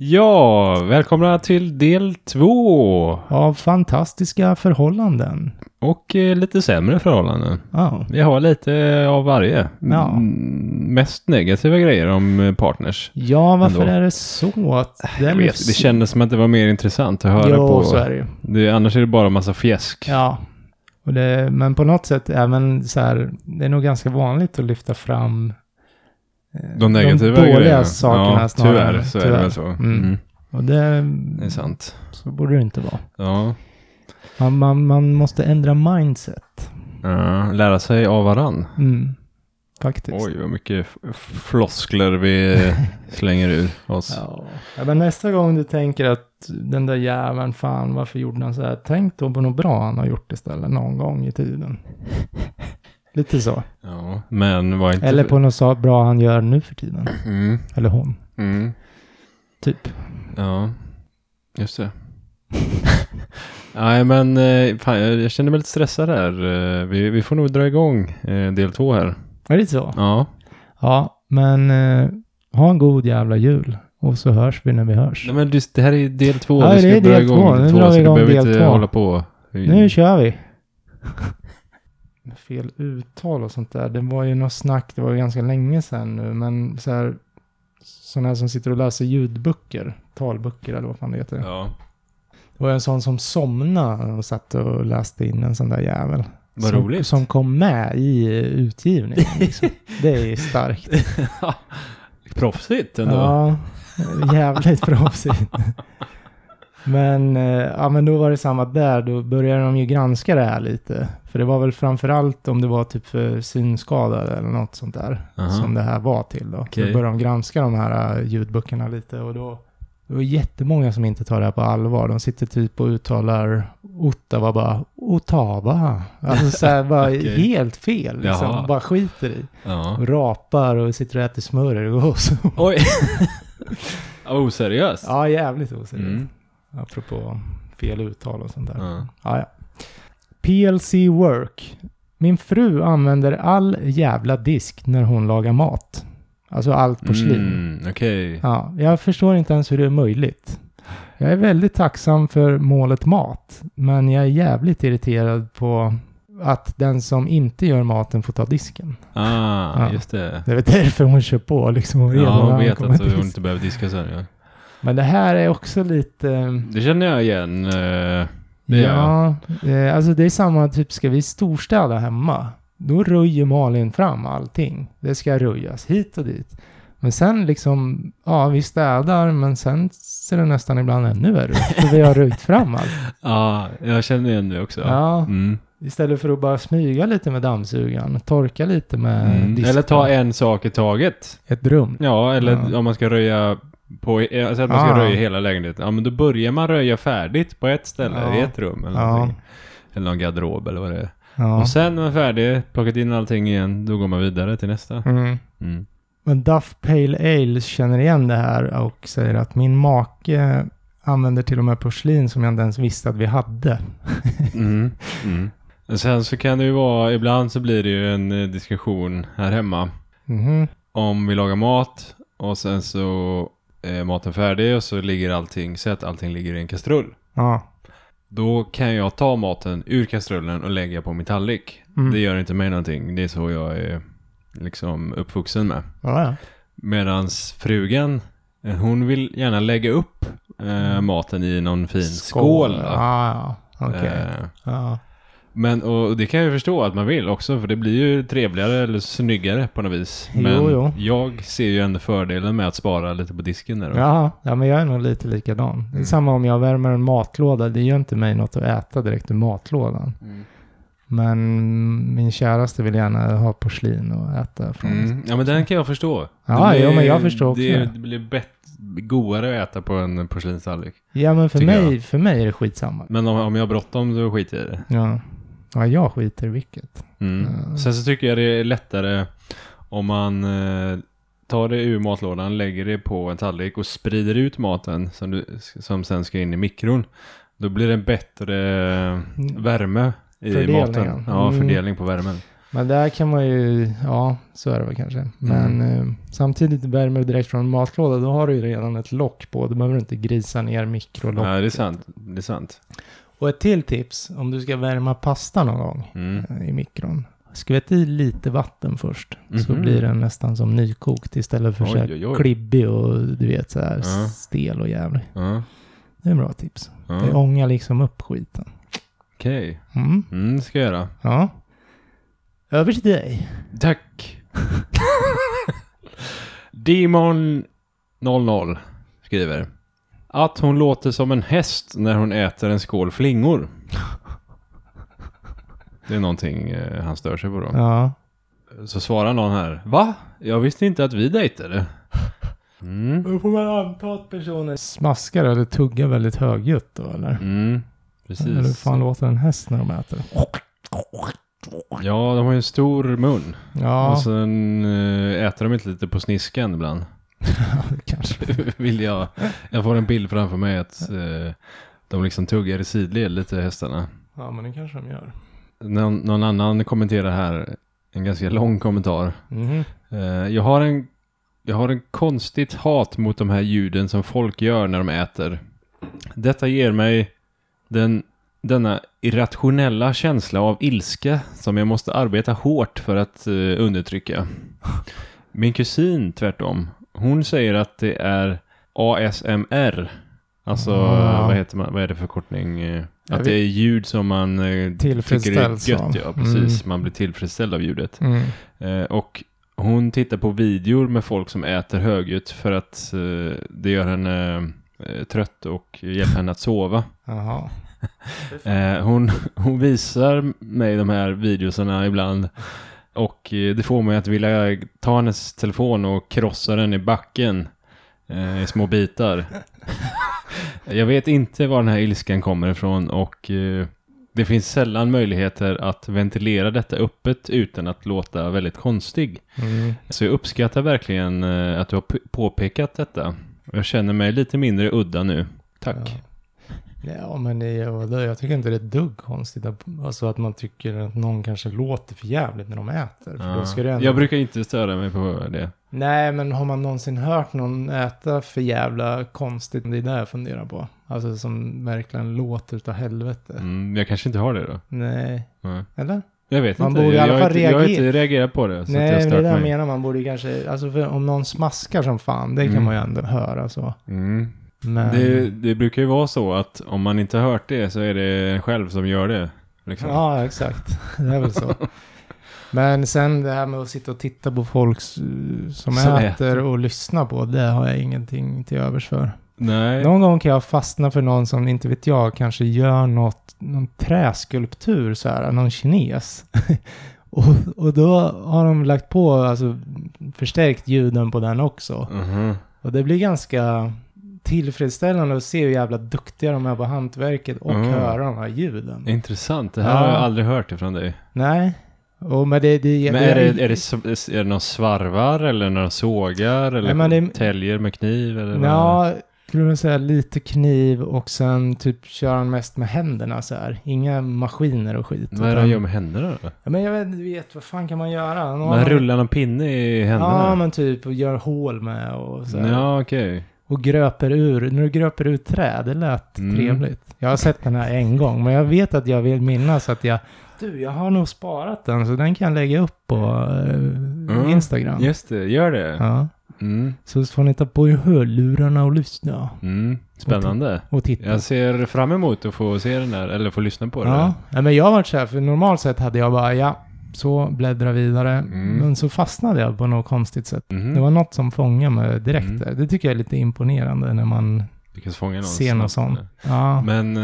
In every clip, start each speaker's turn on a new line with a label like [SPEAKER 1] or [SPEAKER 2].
[SPEAKER 1] Ja, välkomna till del två.
[SPEAKER 2] Av fantastiska förhållanden.
[SPEAKER 1] Och eh, lite sämre förhållanden.
[SPEAKER 2] Ja.
[SPEAKER 1] Vi har lite av varje.
[SPEAKER 2] Ja.
[SPEAKER 1] Mm, mest negativa grejer om eh, partners.
[SPEAKER 2] Ja, varför
[SPEAKER 1] Ändå.
[SPEAKER 2] är det så att... Den
[SPEAKER 1] Jag vet, det kändes som att det var mer intressant att höra
[SPEAKER 2] jo,
[SPEAKER 1] på.
[SPEAKER 2] så är det ju.
[SPEAKER 1] Det, annars är det bara massa fjäsk.
[SPEAKER 2] Ja. Och det, men på något sätt, även så här, det är nog ganska vanligt att lyfta fram eh,
[SPEAKER 1] De negativa
[SPEAKER 2] dåliga
[SPEAKER 1] grejerna.
[SPEAKER 2] sakerna
[SPEAKER 1] ja,
[SPEAKER 2] snarare.
[SPEAKER 1] Tyvärr så är
[SPEAKER 2] Tyvärr.
[SPEAKER 1] det väl så.
[SPEAKER 2] Mm.
[SPEAKER 1] Mm.
[SPEAKER 2] Och det,
[SPEAKER 1] Det är sant.
[SPEAKER 2] så borde det inte vara.
[SPEAKER 1] Ja.
[SPEAKER 2] Man, man, man måste ändra mindset.
[SPEAKER 1] Ja, lära sig av varann.
[SPEAKER 2] Mm. Faktiskt.
[SPEAKER 1] Oj, vad mycket f- floskler vi slänger ur oss.
[SPEAKER 2] Ja. Ja, men nästa gång du tänker att den där jäveln, fan varför gjorde han så här? Tänk då på något bra han har gjort istället någon gång i tiden. Lite så.
[SPEAKER 1] Ja, men var inte...
[SPEAKER 2] Eller på något så bra han gör nu för tiden.
[SPEAKER 1] Mm,
[SPEAKER 2] Eller hon,
[SPEAKER 1] mm,
[SPEAKER 2] typ.
[SPEAKER 1] ja, just det. Nej, men eh, fan, jag jag känner mig lite stressad här. Eh, Vi, vi får nog dra igång eh, del två här.
[SPEAKER 2] Är det så?
[SPEAKER 1] Ja,
[SPEAKER 2] Ja, men eh, ha en god jävla jul. Och så hörs vi när vi hörs.
[SPEAKER 1] Nej, men det, det här är del två.
[SPEAKER 2] Ja,
[SPEAKER 1] vi ska
[SPEAKER 2] det är
[SPEAKER 1] dra
[SPEAKER 2] del två.
[SPEAKER 1] igång
[SPEAKER 2] Nu
[SPEAKER 1] del två,
[SPEAKER 2] drar vi
[SPEAKER 1] så
[SPEAKER 2] igång
[SPEAKER 1] du behöver
[SPEAKER 2] del
[SPEAKER 1] inte
[SPEAKER 2] två.
[SPEAKER 1] hålla på.
[SPEAKER 2] Nu kör vi! Fel uttal och sånt där. Det var ju något snack, det var ju ganska länge sedan nu, men så här, sådana här som sitter och läser ljudböcker, talböcker eller vad fan det heter.
[SPEAKER 1] Ja.
[SPEAKER 2] Det var en sån som somnade och satt och läste in en sån där jävel.
[SPEAKER 1] Vad
[SPEAKER 2] som,
[SPEAKER 1] roligt.
[SPEAKER 2] Som kom med i eh, utgivningen. Liksom. Det är ju starkt.
[SPEAKER 1] Proffsigt ändå.
[SPEAKER 2] Ja, jävligt proffsigt. Men, eh, ja, men då var det samma där, då började de ju granska det här lite. För det var väl framförallt om det var typ för synskadade eller något sånt där.
[SPEAKER 1] Aha.
[SPEAKER 2] Som det här var till då.
[SPEAKER 1] Okej.
[SPEAKER 2] Då började de granska de här eh, ljudböckerna lite och då det var jättemånga som inte tar det här på allvar. De sitter typ och uttalar Ottawa bara Ottawa. Alltså så här bara
[SPEAKER 1] Okej.
[SPEAKER 2] helt fel liksom.
[SPEAKER 1] Jaha.
[SPEAKER 2] Bara skiter i.
[SPEAKER 1] Ja.
[SPEAKER 2] Och rapar och sitter och äter smörgås.
[SPEAKER 1] Oj. Oseriöst.
[SPEAKER 2] Ja, jävligt oseriöst.
[SPEAKER 1] Mm.
[SPEAKER 2] Apropå fel uttal och sånt där.
[SPEAKER 1] Ja.
[SPEAKER 2] Ja, ja. PLC Work. Min fru använder all jävla disk när hon lagar mat. Alltså allt porslin.
[SPEAKER 1] Mm, Okej.
[SPEAKER 2] Ja, jag förstår inte ens hur det är möjligt. Jag är väldigt tacksam för målet mat, men jag är jävligt irriterad på att den som inte gör maten får ta disken.
[SPEAKER 1] Ah,
[SPEAKER 2] Ja.
[SPEAKER 1] just det.
[SPEAKER 2] Det är väl därför hon kör på liksom. och redan
[SPEAKER 1] Ja, hon
[SPEAKER 2] när
[SPEAKER 1] vet
[SPEAKER 2] kommer
[SPEAKER 1] att hon
[SPEAKER 2] disk.
[SPEAKER 1] inte behöver diska sen. Ja.
[SPEAKER 2] Men det här är också lite... eh,
[SPEAKER 1] Det känner jag igen. eh, Det gör
[SPEAKER 2] Ja, eh, alltså det är samma typ, ska vi storstäda hemma, då röjer Malin fram allting. Det ska röjas hit och dit. Men sen liksom, ja vi städar, men sen ser det nästan ibland ännu värre ut. För vi har röjt fram allt.
[SPEAKER 1] Ja, jag känner igen det också.
[SPEAKER 2] Ja,
[SPEAKER 1] Mm.
[SPEAKER 2] istället för att bara smyga lite med dammsugaren, torka lite med
[SPEAKER 1] Mm.
[SPEAKER 2] disken.
[SPEAKER 1] Eller ta en sak i taget.
[SPEAKER 2] ett rum.
[SPEAKER 1] Ja, eller
[SPEAKER 2] Ja.
[SPEAKER 1] om man ska röja på, eh, alltså att man ska
[SPEAKER 2] Ah.
[SPEAKER 1] röja hela lägenheten. Ja, men då börjar man röja färdigt på ett ställe,
[SPEAKER 2] Ja.
[SPEAKER 1] i ett rum eller
[SPEAKER 2] Ja.
[SPEAKER 1] någonting. Eller någon garderob eller vad det är.
[SPEAKER 2] Ja.
[SPEAKER 1] Och sen när man är färdig, plockat in allting igen, då går man vidare till nästa.
[SPEAKER 2] Mm.
[SPEAKER 1] Mm.
[SPEAKER 2] Men Duff Pale Ale känner igen det här och säger att min make använder till och med porslin som jag inte ens visste att vi hade.
[SPEAKER 1] Mm. Mm. Sen så kan det ju vara, ibland så blir det ju en eh, diskussion här hemma.
[SPEAKER 2] Mhm.
[SPEAKER 1] Om vi lagar mat och sen så är maten färdig och så ligger allting, säg att allting ligger i en kastrull.
[SPEAKER 2] Ja.
[SPEAKER 1] Då kan jag ta maten ur kastrullen och lägga på min tallrik.
[SPEAKER 2] Mm.
[SPEAKER 1] Det gör inte mig någonting. Det är så jag är liksom uppvuxen med.
[SPEAKER 2] Ja, ja.
[SPEAKER 1] Medans frugan, eh, hon vill gärna lägga upp eh, maten i någon fin skål.
[SPEAKER 2] Ja,
[SPEAKER 1] va?
[SPEAKER 2] ja. Ah, Okej.
[SPEAKER 1] Eh,
[SPEAKER 2] Ja.
[SPEAKER 1] Men och det kan jag ju förstå att man vill också för det blir ju trevligare eller snyggare på något vis.
[SPEAKER 2] Jo,
[SPEAKER 1] Men
[SPEAKER 2] jo.
[SPEAKER 1] jag ser ju ändå fördelen med att spara lite på disken där. då.
[SPEAKER 2] Jaha. ja, men jag är nog lite likadan. Det är
[SPEAKER 1] Mm.
[SPEAKER 2] samma om jag värmer en matlåda. Det gör inte mig något att äta direkt ur matlådan.
[SPEAKER 1] Mm.
[SPEAKER 2] Men min käraste vill gärna ha porslin och äta från.
[SPEAKER 1] Mm. Ja men den kan jag förstå.
[SPEAKER 2] Ja,
[SPEAKER 1] Det blir-
[SPEAKER 2] jo, men jag förstår också
[SPEAKER 1] det.
[SPEAKER 2] det.
[SPEAKER 1] Det blir bättre. godare att äta på en porslinstallrik.
[SPEAKER 2] Ja, men för
[SPEAKER 1] Tycker
[SPEAKER 2] mig, för mig är det skitsamma.
[SPEAKER 1] Men om, om jag har bråttom då skiter jag i det.
[SPEAKER 2] Ja. ja, jag skiter i vilket.
[SPEAKER 1] Mm.
[SPEAKER 2] Mm.
[SPEAKER 1] Sen så tycker jag det är lättare om man eh, tar det ur matlådan, lägger det på en tallrik och sprider ut maten som, du, som sen ska in i mikron. Då blir det en bättre eh,
[SPEAKER 2] Mm.
[SPEAKER 1] värme i
[SPEAKER 2] Fördelningen.
[SPEAKER 1] maten. Ja,
[SPEAKER 2] Mm.
[SPEAKER 1] fördelning på värmen.
[SPEAKER 2] Men där kan man ju, ja, så är det väl kanske. Men
[SPEAKER 1] Mm.
[SPEAKER 2] eh, samtidigt värmer du direkt från en matlåda, då har du ju redan ett lock på. Då behöver du inte grisa ner mikrolock.
[SPEAKER 1] Ja, det är sant. Det är sant.
[SPEAKER 2] Och ett till tips, om du ska värma pasta någon gång
[SPEAKER 1] Mm.
[SPEAKER 2] eh, i mikron. Skvätt i lite vatten först, så
[SPEAKER 1] Mhm.
[SPEAKER 2] blir den nästan som nykokt istället för
[SPEAKER 1] Oj,
[SPEAKER 2] så
[SPEAKER 1] oj,
[SPEAKER 2] här
[SPEAKER 1] oj.
[SPEAKER 2] klibbig och du vet så här
[SPEAKER 1] Ja.
[SPEAKER 2] stel och jävlig.
[SPEAKER 1] Ja,
[SPEAKER 2] Det är bra tips. Det
[SPEAKER 1] ja.
[SPEAKER 2] ångar liksom upp skiten.
[SPEAKER 1] Okej,
[SPEAKER 2] Mm,
[SPEAKER 1] mm, det ska jag göra.
[SPEAKER 2] ja. Över till dig.
[SPEAKER 1] Tack. Demon 00 skriver. Att hon låter som en häst när hon äter en skål flingor. Det är någonting eh, han stör sig på då.
[SPEAKER 2] Ja.
[SPEAKER 1] Så svarar någon här. Va? Jag visste inte att vi dejtade. Mm.
[SPEAKER 2] Då får man anta att personen smaskar eller tuggar väldigt högljutt då eller?
[SPEAKER 1] Mm.
[SPEAKER 2] Eller hur
[SPEAKER 1] Precis.
[SPEAKER 2] fan låter en häst när de äter?
[SPEAKER 1] Ja, de har ju en stor mun.
[SPEAKER 2] Ja,
[SPEAKER 1] Och sen eh, äter de inte lite på sniskan ibland.
[SPEAKER 2] kanske.
[SPEAKER 1] vill jag. Jag får en bild framför mig att eh, de liksom tuggar i sidled lite hästarna.
[SPEAKER 2] Ja, men det kanske de gör.
[SPEAKER 1] Någon, någon annan kommenterar här, en ganska lång kommentar.
[SPEAKER 2] Mhm.
[SPEAKER 1] Eh, jag, har en, jag har en konstigt hat mot de här ljuden som folk gör när de äter. Detta ger mig den, denna irrationella känsla av ilska som jag måste arbeta hårt för att eh, undertrycka. Min kusin tvärtom, hon säger att det är ASMR. Alltså,
[SPEAKER 2] Ah.
[SPEAKER 1] vad, heter man, vad är det för förkortning? Eh,
[SPEAKER 2] Jag
[SPEAKER 1] Att det är ljud som man eh, tycker
[SPEAKER 2] Tillfredsställs
[SPEAKER 1] är
[SPEAKER 2] av.
[SPEAKER 1] gött. Ja, precis.
[SPEAKER 2] Mm.
[SPEAKER 1] Man blir tillfredsställd av ljudet.
[SPEAKER 2] Mm.
[SPEAKER 1] Eh, och hon tittar på videor med folk som äter högljutt för att eh, det gör henne eh, trött och hjälper henne att sova.
[SPEAKER 2] Jaha.
[SPEAKER 1] Eh, hon, hon visar mig de här videoserna ibland och eh, det får mig att vilja ta hennes telefon och krossa den i backen eh, i små bitar. Jag vet inte var den här ilskan kommer ifrån och eh, det finns sällan möjligheter att ventilera detta öppet utan att låta väldigt konstig.
[SPEAKER 2] Mm.
[SPEAKER 1] Så Alltså, jag uppskattar verkligen eh, att du har p- påpekat detta. Jag känner mig lite mindre udda nu. Tack.
[SPEAKER 2] Ja. ja, men det, är- vadå, jag tycker inte det är ett dugg konstigt. att- Alltså att man tycker att någon kanske låter för jävligt när de äter. För då ska det ändå...
[SPEAKER 1] Jag brukar inte störa mig på det.
[SPEAKER 2] Nej, men har man någonsin hört någon äta för jävla konstigt? Det är det jag funderar på. Alltså som verkligen låter utav helvete.
[SPEAKER 1] Mm, jag kanske inte har det då.
[SPEAKER 2] Nej,
[SPEAKER 1] Nej.
[SPEAKER 2] eller?
[SPEAKER 1] Jag vet
[SPEAKER 2] Man
[SPEAKER 1] inte.
[SPEAKER 2] borde i alla
[SPEAKER 1] jag, har
[SPEAKER 2] fall
[SPEAKER 1] inte jag har
[SPEAKER 2] reagera.
[SPEAKER 1] inte reagerat på det. Så att
[SPEAKER 2] Nej,
[SPEAKER 1] jag
[SPEAKER 2] men
[SPEAKER 1] har
[SPEAKER 2] det är
[SPEAKER 1] stört
[SPEAKER 2] det jag
[SPEAKER 1] mig.
[SPEAKER 2] menar. Man borde ju kanske, alltså för om någon smaskar som fan, det kan
[SPEAKER 1] Mm.
[SPEAKER 2] man ju ändå höra så.
[SPEAKER 1] Mm.
[SPEAKER 2] Men,
[SPEAKER 1] Det, det brukar ju vara så att om man inte har hört det så är det en själv som gör det. Liksom.
[SPEAKER 2] Ja, exakt. Det är väl så. Men sen det här med att sitta och titta på folk s- som
[SPEAKER 1] Som
[SPEAKER 2] äter,
[SPEAKER 1] äter.
[SPEAKER 2] och lyssna på, det har jag ingenting till övers för.
[SPEAKER 1] Nej.
[SPEAKER 2] Någon gång kan jag fastna för någon som, inte vet jag, kanske gör något, någon träskulptur så här, någon kines. och, och då har de lagt på, alltså förstärkt ljuden på den också.
[SPEAKER 1] Mhm.
[SPEAKER 2] Och det blir ganska tillfredsställande att se hur jävla duktiga de är på hantverket och
[SPEAKER 1] Mm.
[SPEAKER 2] höra de här ljuden.
[SPEAKER 1] Intressant. Det här har
[SPEAKER 2] Ja.
[SPEAKER 1] jag aldrig hört ifrån dig.
[SPEAKER 2] Nej. Och men det, det,
[SPEAKER 1] Men är det, är, det, sv- är det några svarvar eller några sågar
[SPEAKER 2] Nej,
[SPEAKER 1] eller
[SPEAKER 2] men det-
[SPEAKER 1] täljer med kniv? Eller vad är det?
[SPEAKER 2] Ja, skulle man säga lite kniv och sen typ kör han mest med händerna så här. Inga maskiner och skit.
[SPEAKER 1] Vad är det
[SPEAKER 2] utan-
[SPEAKER 1] han gör med händerna då?
[SPEAKER 2] Ja, men jag vet, du vet, vad fan kan man göra? Han
[SPEAKER 1] Man rullar någon pinne i händerna?
[SPEAKER 2] Ja, men typ och gör hål med och så här.
[SPEAKER 1] Ja, okej.
[SPEAKER 2] Och gröper ur. När du gröper ur trä, det lät
[SPEAKER 1] Mm.
[SPEAKER 2] trevligt. Jag har sett den här en gång, men jag vet att jag vill minnas att jag... Du, jag har nog sparat den, så den kan jag lägga upp på eh, Instagram.
[SPEAKER 1] Just det, gör det.
[SPEAKER 2] Ja.
[SPEAKER 1] Mm.
[SPEAKER 2] Så får ni ta på er hörlurarna och lyssna.
[SPEAKER 1] Mm. Spännande.
[SPEAKER 2] Och titta.
[SPEAKER 1] Jag ser fram emot att få se den där, eller få lyssna på den.
[SPEAKER 2] ja. Nej, men jag har varit så här, för normalt sett hade jag bara, ja, så bläddra vidare.
[SPEAKER 1] Mm.
[SPEAKER 2] Men så fastnade jag på något konstigt sätt.
[SPEAKER 1] Mhm.
[SPEAKER 2] Det var något som fångade mig direkt
[SPEAKER 1] Mm.
[SPEAKER 2] där. Det tycker jag är lite imponerande när man,
[SPEAKER 1] Lyckas fånga någon
[SPEAKER 2] Ser något
[SPEAKER 1] snabbt.
[SPEAKER 2] sånt. ja.
[SPEAKER 1] Men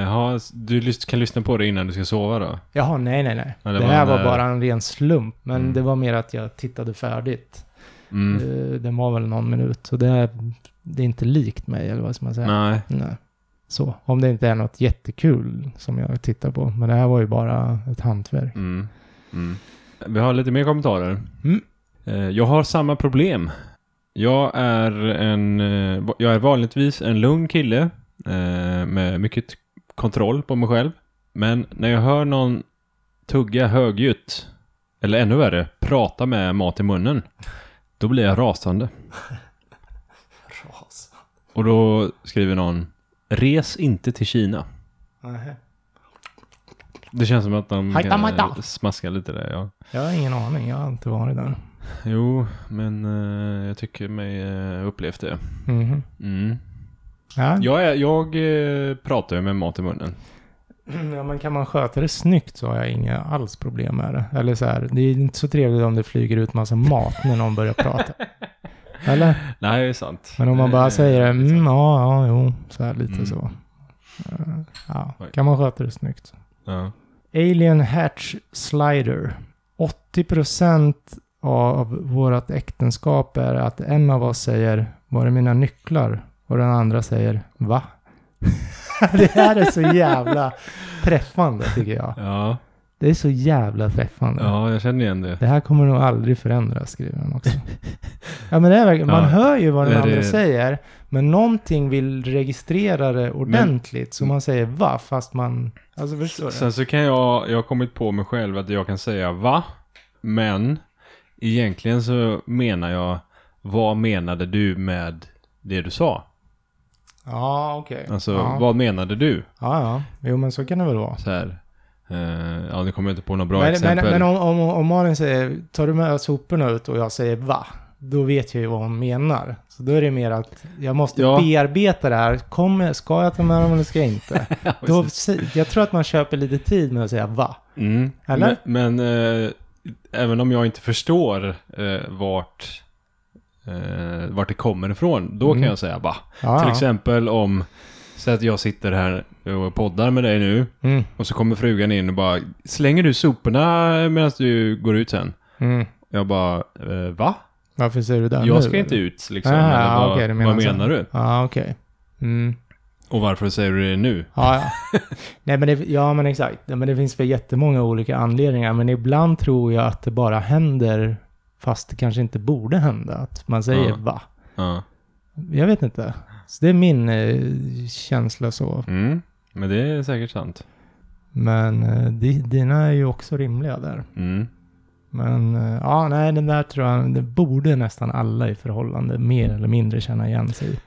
[SPEAKER 1] eh, ha, du lys- kan lyssna på det innan du ska sova då?
[SPEAKER 2] Jaha, nej, nej, nej.
[SPEAKER 1] Ja,
[SPEAKER 2] det,
[SPEAKER 1] det var
[SPEAKER 2] här
[SPEAKER 1] en,
[SPEAKER 2] var
[SPEAKER 1] eh,
[SPEAKER 2] bara en ren slump. Men
[SPEAKER 1] Mm.
[SPEAKER 2] det var mer att jag tittade färdigt.
[SPEAKER 1] Mm.
[SPEAKER 2] Eh, Den var väl någon minut. Så det det är inte likt mig, eller vad ska man säga?
[SPEAKER 1] Nej.
[SPEAKER 2] Nej. Så, om det inte är något jättekul som jag tittar på. Men det här var ju bara ett hantverk.
[SPEAKER 1] Mm. Mm. Vi har lite mer kommentarer.
[SPEAKER 2] Mm.
[SPEAKER 1] Eh, Jag har samma problem. Jag är, en, eh, va- jag är vanligtvis en lugn kille eh, med mycket kontroll på mig själv. Men när jag hör någon tugga högljutt, eller ännu värre, prata med mat i munnen, då blir jag rasande.
[SPEAKER 2] Ras.
[SPEAKER 1] Och då skriver någon, res inte till Kina. Det känns som att de
[SPEAKER 2] Hajta,
[SPEAKER 1] kan, eh,
[SPEAKER 2] majta.
[SPEAKER 1] smaskar lite där, ja.
[SPEAKER 2] Jag har ingen aning, jag har inte varit där.
[SPEAKER 1] Jo, men eh, jag tycker mig eh, upplevt det.
[SPEAKER 2] Mhm.
[SPEAKER 1] Mm.
[SPEAKER 2] Ja.
[SPEAKER 1] Jag, är, jag eh, pratar ju med mat i munnen.
[SPEAKER 2] Ja, men kan man sköta det snyggt så har jag inga alls problem med det. Eller så här, det är inte så trevligt om det flyger ut massa mat när någon börjar prata. Eller?
[SPEAKER 1] Nej, det är sant.
[SPEAKER 2] Men om man bara
[SPEAKER 1] Eh,
[SPEAKER 2] säger mm, ja, ja, jo, så här lite
[SPEAKER 1] Mm.
[SPEAKER 2] så. Eh, Ja, kan man sköta det snyggt.
[SPEAKER 1] Ja.
[SPEAKER 2] Alien Hatch Slider. 80% av vårt äktenskap är att en av oss säger Var är mina nycklar? Och den andra säger Va? det här är så jävla träffande tycker jag.
[SPEAKER 1] Ja,
[SPEAKER 2] Det är så jävla träffande.
[SPEAKER 1] ja, jag känner igen det.
[SPEAKER 2] Det här kommer nog aldrig förändras, skriver han också. ja, men det är verkligen, man
[SPEAKER 1] Ja.
[SPEAKER 2] hör ju vad den
[SPEAKER 1] Det är
[SPEAKER 2] andra
[SPEAKER 1] det.
[SPEAKER 2] säger, men någonting vill registrera det ordentligt, så man säger va, fast man... Alltså, förstår du?
[SPEAKER 1] Sen så kan jag, jag har kommit på mig själv att jag kan säga va, men egentligen så menar jag vad menade du med det du sa?
[SPEAKER 2] Ja, okej.
[SPEAKER 1] Alltså,
[SPEAKER 2] ja.
[SPEAKER 1] vad menade du?
[SPEAKER 2] Ja, ja. Jo, men så kan det väl vara.
[SPEAKER 1] Så här. Eh, ja, nu kommer jag inte på några bra
[SPEAKER 2] Men, men,
[SPEAKER 1] exempel.
[SPEAKER 2] men om, om, om Malin säger, tar du med soporna ut och jag säger va? Då vet jag ju vad hon menar. Så då är det mer att jag måste
[SPEAKER 1] Ja.
[SPEAKER 2] bearbeta det här. Kommer, ska jag ta med dem eller ska jag inte? då, se- jag tror att man köper lite tid med att säga va.
[SPEAKER 1] Mm.
[SPEAKER 2] Eller?
[SPEAKER 1] Men, men eh, även om jag inte förstår eh, vart, eh, vart det kommer ifrån, då
[SPEAKER 2] Mm.
[SPEAKER 1] kan jag säga va.
[SPEAKER 2] Ja,
[SPEAKER 1] Till
[SPEAKER 2] ja.
[SPEAKER 1] exempel om, säg att jag sitter här och poddar med dig nu
[SPEAKER 2] Mm,
[SPEAKER 1] och så kommer frugan in och bara slänger du soporna medan du går ut sen?
[SPEAKER 2] mm.
[SPEAKER 1] Jag bara, eh, va?
[SPEAKER 2] Varför säger du det
[SPEAKER 1] Jag
[SPEAKER 2] nu,
[SPEAKER 1] ska inte
[SPEAKER 2] eller?
[SPEAKER 1] ut liksom.
[SPEAKER 2] Ah,
[SPEAKER 1] eller vad,
[SPEAKER 2] okej, du menar
[SPEAKER 1] vad
[SPEAKER 2] så.
[SPEAKER 1] menar du?
[SPEAKER 2] Ja, okej. Mm.
[SPEAKER 1] Och varför säger du det nu?
[SPEAKER 2] Ja, ja. Nej, men det, ja, men exakt. Ja, men det finns väl jättemånga olika anledningar. Men ibland tror jag att det bara händer, fast det kanske inte borde hända. Att man säger
[SPEAKER 1] Ja.
[SPEAKER 2] va?
[SPEAKER 1] Ja.
[SPEAKER 2] Jag vet inte. Så det är min eh, känsla så.
[SPEAKER 1] Mm. Men det är säkert sant.
[SPEAKER 2] Men eh, di, dina är ju också rimliga där.
[SPEAKER 1] Mm.
[SPEAKER 2] Men eh, ja, nej, den där tror jag, det borde nästan alla i förhållande mer eller mindre känna igen sig i.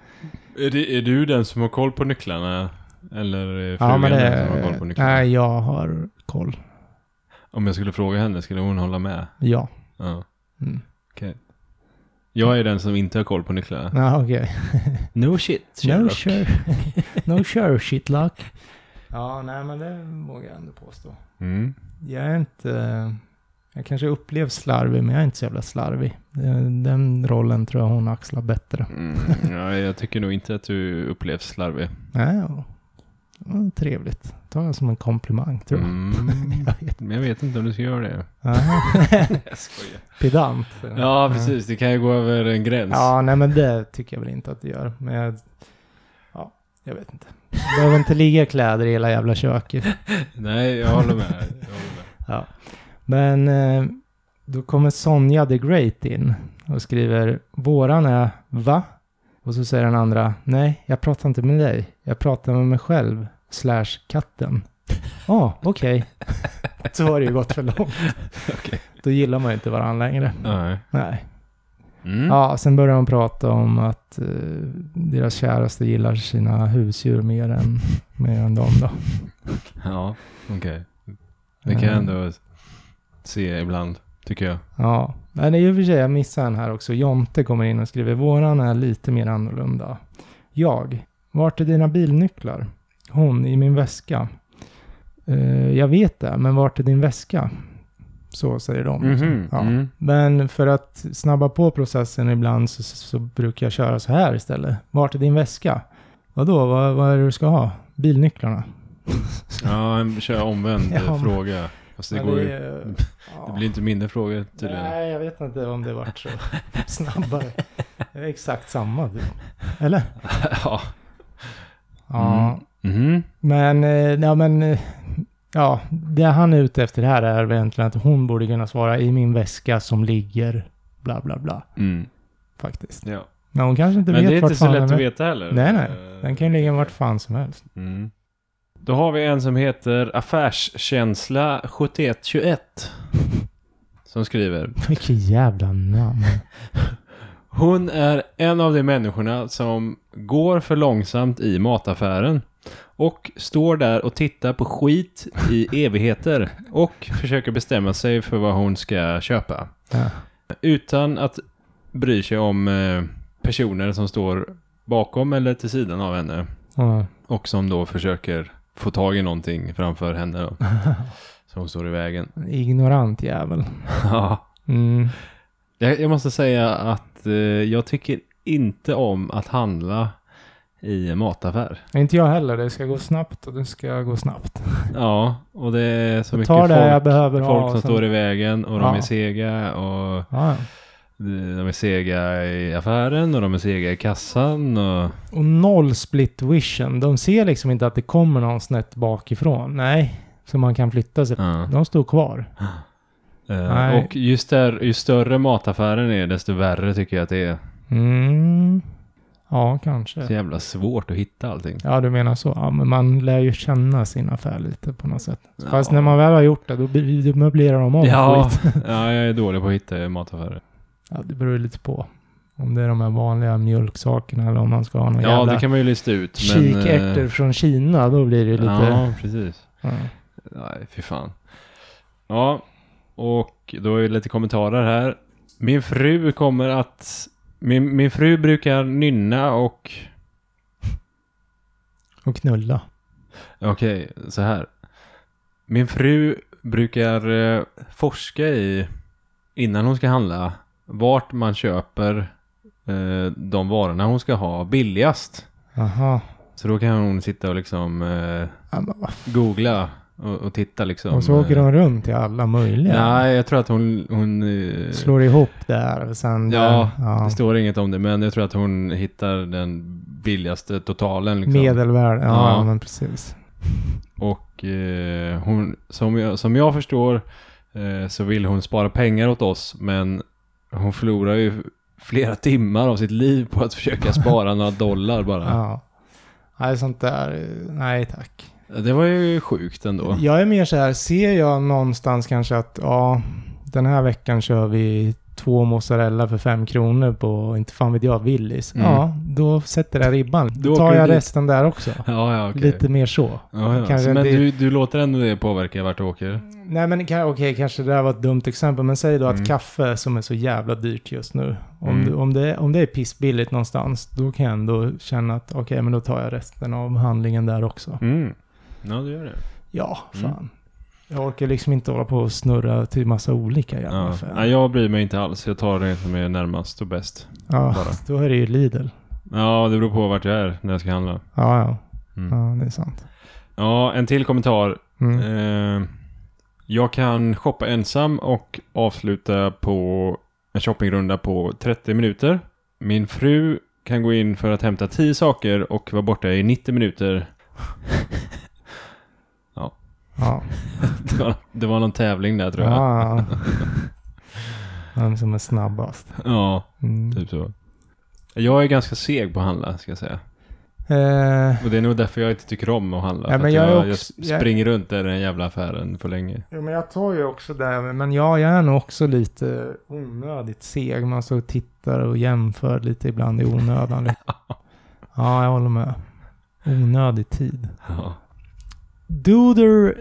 [SPEAKER 1] Är, det, är du den som har koll på nycklarna? Eller är
[SPEAKER 2] Ja,
[SPEAKER 1] frugan
[SPEAKER 2] men
[SPEAKER 1] den som har koll
[SPEAKER 2] det,
[SPEAKER 1] på nycklarna?
[SPEAKER 2] nej, jag har koll.
[SPEAKER 1] Om jag skulle fråga henne, skulle hon hålla med?
[SPEAKER 2] Ja.
[SPEAKER 1] Ja,
[SPEAKER 2] Mm.
[SPEAKER 1] okej. Jag är den som inte har koll på nycklarna.
[SPEAKER 2] Ja, okej.
[SPEAKER 1] No shit,
[SPEAKER 2] No sure. no sure shit luck. Ja, nej men det vågar jag ändå påstå.
[SPEAKER 1] Mm.
[SPEAKER 2] Jag är inte... Jag kanske upplevs slarvig, men jag är inte så jävla slarvig. Den, den rollen tror jag hon axlar bättre.
[SPEAKER 1] Mm. Ja, jag tycker nog inte att du upplevs slarvig.
[SPEAKER 2] Nej, ja. Ja, trevligt. tar jag som en komplimang, tror jag.
[SPEAKER 1] Mm. Men jag vet inte om du ska göra det.
[SPEAKER 2] Aha.
[SPEAKER 1] Jag skojar.
[SPEAKER 2] Pedant.
[SPEAKER 1] Ja, precis. Det kan ju gå över en gräns.
[SPEAKER 2] Ja, nej men det tycker jag väl inte att det gör. Men jag... Ja, jag vet inte. Det behöver inte ligga kläder i hela jävla köket.
[SPEAKER 1] Nej, jag håller med. Jag håller med.
[SPEAKER 2] Ja. Men eh, då kommer Sonja the Great in och skriver Våran är va? Och så säger den andra Nej, jag pratar inte med dig. Jag pratar med mig själv slash katten. Ja, ah, okej. så har det ju gått för långt.
[SPEAKER 1] Okej.
[SPEAKER 2] Då gillar man ju inte varandra längre.
[SPEAKER 1] Nej.
[SPEAKER 2] Nej.
[SPEAKER 1] Mm.
[SPEAKER 2] Ja, sen börjar de prata om att eh, deras käraste gillar sina husdjur mer än, mer än dem då.
[SPEAKER 1] Ja, okej. Det kan jag
[SPEAKER 2] Eh.
[SPEAKER 1] ändå se ibland, tycker jag.
[SPEAKER 2] Ja, men det är ju för sig, jag missar en här också. Jonte kommer in och skriver, våran är lite mer annorlunda. Jag, vart är dina bilnycklar? Hon, i min väska. "Eh, jag vet det, men vart är din väska? Så säger de. Mm-hmm. Ja.
[SPEAKER 1] Mm.
[SPEAKER 2] Men för att snabba på processen ibland så, så brukar jag köra så här istället. Vart är din väska? Vadå, vad, vad är det du ska ha? Bilnycklarna.
[SPEAKER 1] Ja, en kör omvänd eh,
[SPEAKER 2] Ja, men-
[SPEAKER 1] fråga. Fast det,
[SPEAKER 2] Men
[SPEAKER 1] går ju,
[SPEAKER 2] är, eh, ja.
[SPEAKER 1] det blir inte mindre frågor tydligen.
[SPEAKER 2] Nej, jag vet inte om det vart så snabbare. Eh, Det är exakt samma. typ. Eller?
[SPEAKER 1] ja.
[SPEAKER 2] Ja.
[SPEAKER 1] Mm. Mhm.
[SPEAKER 2] Men, eh, ja men, eh, ja, det han är ute efter här är väl egentligen att hon borde kunna svara i min väska som ligger bla bla bla,
[SPEAKER 1] Mm.
[SPEAKER 2] faktiskt.
[SPEAKER 1] Ja.
[SPEAKER 2] Men hon kanske inte
[SPEAKER 1] Men
[SPEAKER 2] vet
[SPEAKER 1] det är
[SPEAKER 2] vart
[SPEAKER 1] inte så
[SPEAKER 2] fan
[SPEAKER 1] lätt
[SPEAKER 2] den
[SPEAKER 1] att
[SPEAKER 2] är.
[SPEAKER 1] veta heller.
[SPEAKER 2] Nej, nej.
[SPEAKER 1] Eh,
[SPEAKER 2] Den kan ju ligga vart fan som helst.
[SPEAKER 1] Mm. Då har vi en som heter Affärskänsla 7121. Som skriver.
[SPEAKER 2] Vilket jävla namn.
[SPEAKER 1] Hon är en av de människorna som går för långsamt i mataffären. Och står där och tittar på skit i evigheter. Och försöker bestämma sig för vad hon ska köpa.
[SPEAKER 2] Ja.
[SPEAKER 1] Utan att bry sig om eh, personer som står bakom eller till sidan av henne.
[SPEAKER 2] Ja.
[SPEAKER 1] Och som då försöker få tag i någonting framför henne då. Som står i vägen.
[SPEAKER 2] Ignorant jävel.
[SPEAKER 1] Ja.
[SPEAKER 2] Mm.
[SPEAKER 1] Jag, jag måste säga att eh, jag tycker inte om att handla i en mataffär.
[SPEAKER 2] Inte jag heller. Det ska gå snabbt och det ska gå snabbt.
[SPEAKER 1] Ja, och det är så
[SPEAKER 2] Jag
[SPEAKER 1] mycket
[SPEAKER 2] tar
[SPEAKER 1] folk,
[SPEAKER 2] det jag behöver ha.
[SPEAKER 1] folk som
[SPEAKER 2] och sen-
[SPEAKER 1] står i vägen och de
[SPEAKER 2] Ja.
[SPEAKER 1] är sega och eh,
[SPEAKER 2] Ja.
[SPEAKER 1] de är sega i affären och de är sega i kassan och...
[SPEAKER 2] Och noll split vision. De ser liksom inte att det kommer någon snett bakifrån. Nej, så man kan flytta sig.
[SPEAKER 1] Ja.
[SPEAKER 2] De står kvar.
[SPEAKER 1] Eh,
[SPEAKER 2] Nej.
[SPEAKER 1] och just där, ju större mataffären är desto värre tycker jag att det är.
[SPEAKER 2] Mm. Ja,
[SPEAKER 1] Så
[SPEAKER 2] kanske.
[SPEAKER 1] jävla svårt att hitta allting.
[SPEAKER 2] Ja, du menar så. Ja, men man lär ju känna sin affär lite på något sätt. Fast
[SPEAKER 1] Ja.
[SPEAKER 2] när man väl har gjort det, då, blir- då möblerar de om
[SPEAKER 1] Ja,
[SPEAKER 2] skit.
[SPEAKER 1] ja, jag är dålig på att hitta i mataffärer.
[SPEAKER 2] Ja, det beror ju lite på. Om det är de här vanliga mjölksakerna eller om man ska ha någon
[SPEAKER 1] Ja,
[SPEAKER 2] jävla
[SPEAKER 1] det kan man ju lista ut. Men,
[SPEAKER 2] kikärtor
[SPEAKER 1] eh,
[SPEAKER 2] från Kina. Då blir det ju lite...
[SPEAKER 1] Ja, precis.
[SPEAKER 2] Ja.
[SPEAKER 1] Nej, fy fan. Ja, och då är det lite kommentarer här. Min fru kommer att... Min, min fru brukar nynna och...
[SPEAKER 2] Och knulla.
[SPEAKER 1] Okej, så här. Min fru brukar eh, forska i, innan hon ska handla, vart man köper eh, de varorna hon ska ha billigast.
[SPEAKER 2] Aha.
[SPEAKER 1] Så då kan hon sitta och liksom eh,
[SPEAKER 2] Ja, men vad fan.
[SPEAKER 1] googla och, och titta liksom.
[SPEAKER 2] Och så åker
[SPEAKER 1] eh,
[SPEAKER 2] de runt till alla möjliga.
[SPEAKER 1] Nej, jag tror att hon... hon eh,
[SPEAKER 2] Slår ihop där och sen... eh,
[SPEAKER 1] Ja,
[SPEAKER 2] ja.
[SPEAKER 1] Det står inget om det, men jag tror att hon hittar den billigaste totalen. Liksom.
[SPEAKER 2] Medelvärde. Ja,
[SPEAKER 1] Ja.
[SPEAKER 2] men precis.
[SPEAKER 1] Och eh, hon, som, jag, som jag förstår eh, så vill hon spara pengar åt oss, men hon förlorar ju flera timmar av sitt liv på att försöka spara några dollar bara.
[SPEAKER 2] Ja. Nej, sånt där. eh, Nej, tack.
[SPEAKER 1] Det var ju sjukt ändå.
[SPEAKER 2] Jag är mer så här, ser jag någonstans kanske att ja, den här veckan kör vi två mozzarella för fem kronor på, inte fan vet jag, Willys.
[SPEAKER 1] Mm.
[SPEAKER 2] Ja, då sätter jag ribban. Då
[SPEAKER 1] Då
[SPEAKER 2] tar
[SPEAKER 1] åker du
[SPEAKER 2] jag
[SPEAKER 1] dit.
[SPEAKER 2] resten där också.
[SPEAKER 1] Ja, ja, okej.
[SPEAKER 2] Lite mer så.
[SPEAKER 1] Ja, ja.
[SPEAKER 2] Kanske
[SPEAKER 1] Så, men
[SPEAKER 2] det-
[SPEAKER 1] du, du låter ändå det påverka vart du åker?
[SPEAKER 2] Nej men ka- okej, kanske det där var ett dumt exempel, men säg då att
[SPEAKER 1] Mm.
[SPEAKER 2] kaffe som är så jävla dyrt just nu, om,
[SPEAKER 1] Mm.
[SPEAKER 2] du, om, det, om det är pissbilligt någonstans, då kan jag ändå känna att okej, men då tar jag resten av handlingen där också.
[SPEAKER 1] Mm. Ja, du gör det.
[SPEAKER 2] Ja, fan.
[SPEAKER 1] Mm.
[SPEAKER 2] Jag orkar liksom inte hålla på och snurra till massa olika jävla
[SPEAKER 1] Ja.
[SPEAKER 2] affärer.
[SPEAKER 1] Nej, jag bryr mig inte alls. Jag tar det som är närmast och bäst.
[SPEAKER 2] Ja,
[SPEAKER 1] bara.
[SPEAKER 2] då är det ju Lidl.
[SPEAKER 1] Ja, det beror på vart jag är när jag ska handla.
[SPEAKER 2] Ja, ja.
[SPEAKER 1] Mm.
[SPEAKER 2] ja det är sant.
[SPEAKER 1] Ja, en till kommentar.
[SPEAKER 2] Mm.
[SPEAKER 1] Eh, jag kan shoppa ensam och avsluta på en shoppingrunda på 30 minuter. Min fru kan gå in för att hämta 10 saker och vara borta i 90 minuter.
[SPEAKER 2] Ja.
[SPEAKER 1] Det var, det var någon tävling där tror jag. Ja,
[SPEAKER 2] Ja, ja. Vem som är snabbast. Mm.
[SPEAKER 1] typ så. Jag är ganska seg på att handla ska jag säga.
[SPEAKER 2] Eh,
[SPEAKER 1] Och det är nog därför jag inte tycker om att handla.
[SPEAKER 2] Ja,
[SPEAKER 1] för
[SPEAKER 2] men
[SPEAKER 1] att
[SPEAKER 2] jag är
[SPEAKER 1] jag,
[SPEAKER 2] också-
[SPEAKER 1] jag springer runt där i den jävla affären för länge.
[SPEAKER 2] Jo, men jag tar ju också det, men jag, jag är nog också lite onödigt seg. Man så tittar och jämför lite ibland i onödan. liksom. ja, jag håller med. Onödig tid.
[SPEAKER 1] Ja.
[SPEAKER 2] Duder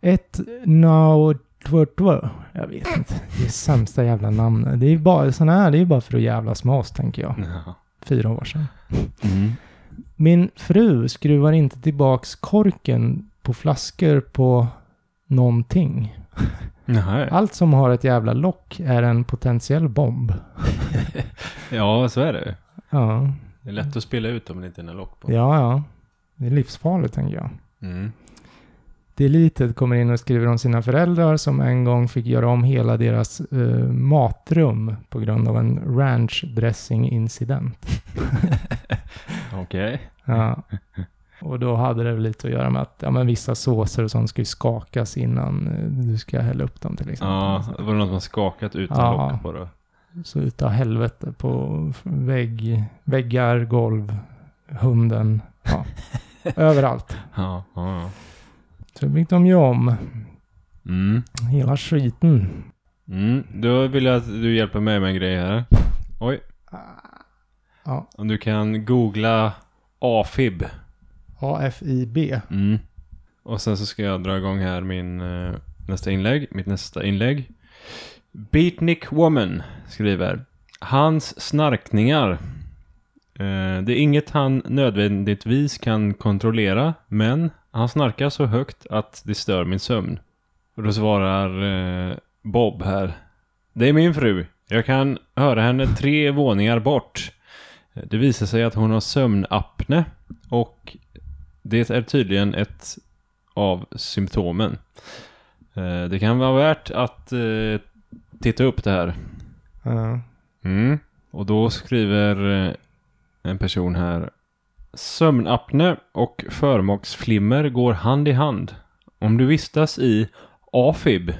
[SPEAKER 2] ett now Jag vet inte. Det är sämsta jävla namnet. Det är ju bara sådana här, det är ju bara för att jävlas med oss, tänker jag.
[SPEAKER 1] Ja.
[SPEAKER 2] Fyra år sedan.
[SPEAKER 1] Mm.
[SPEAKER 2] Min fru skruvar inte tillbaks korken på flaskor på någonting.
[SPEAKER 1] Nej.
[SPEAKER 2] Allt som har ett jävla lock är en potentiell bomb.
[SPEAKER 1] Ja, så är det.
[SPEAKER 2] Ja,
[SPEAKER 1] Det är lätt att spela ut om det inte är några lock på.
[SPEAKER 2] ja, ja. Det är livsfarligt tänker jag.
[SPEAKER 1] Mm.
[SPEAKER 2] jättelitet kommer in och skriver om sina föräldrar som en gång fick göra om hela deras eh, matrum på grund av en ranch dressing incident.
[SPEAKER 1] Okej.
[SPEAKER 2] Ja. Och då hade det väl lite att göra med att ja, men vissa såser och sånt ska ju skakas innan eh, du ska hälla upp dem till exempel.
[SPEAKER 1] Ja, det var något man skakat utan
[SPEAKER 2] Ja.
[SPEAKER 1] lock på då.
[SPEAKER 2] Så utav helvete på vägg, väggar, golv, hunden, ja. överallt.
[SPEAKER 1] Ja, ja, ja.
[SPEAKER 2] Så fick de ju om
[SPEAKER 1] Mm.
[SPEAKER 2] hela skiten.
[SPEAKER 1] Mm. Då vill jag att du hjälper mig med en grej här. Oj.
[SPEAKER 2] Ja.
[SPEAKER 1] Om du kan googla AFib.
[SPEAKER 2] AFIB.
[SPEAKER 1] Mm. Och sen så ska jag dra igång här min eh, nästa inlägg. Mitt nästa inlägg. Beatnik Woman skriver. Hans snarkningar. Eh, det är inget han nödvändigtvis kan kontrollera. Men han snarkar så högt att det stör min sömn. Och då svarar eh, Bob här. Det är min fru. Jag kan höra henne tre våningar bort. Det visar sig att hon har sömnapne. Och det är tydligen ett av symptomen. Eh, Det kan vara värt att eh, titta upp det här.
[SPEAKER 2] Ja.
[SPEAKER 1] Mm. Och då skriver eh, en person här. Sömnapne och förmaksflimmer går hand i hand. Om du vistas i AFib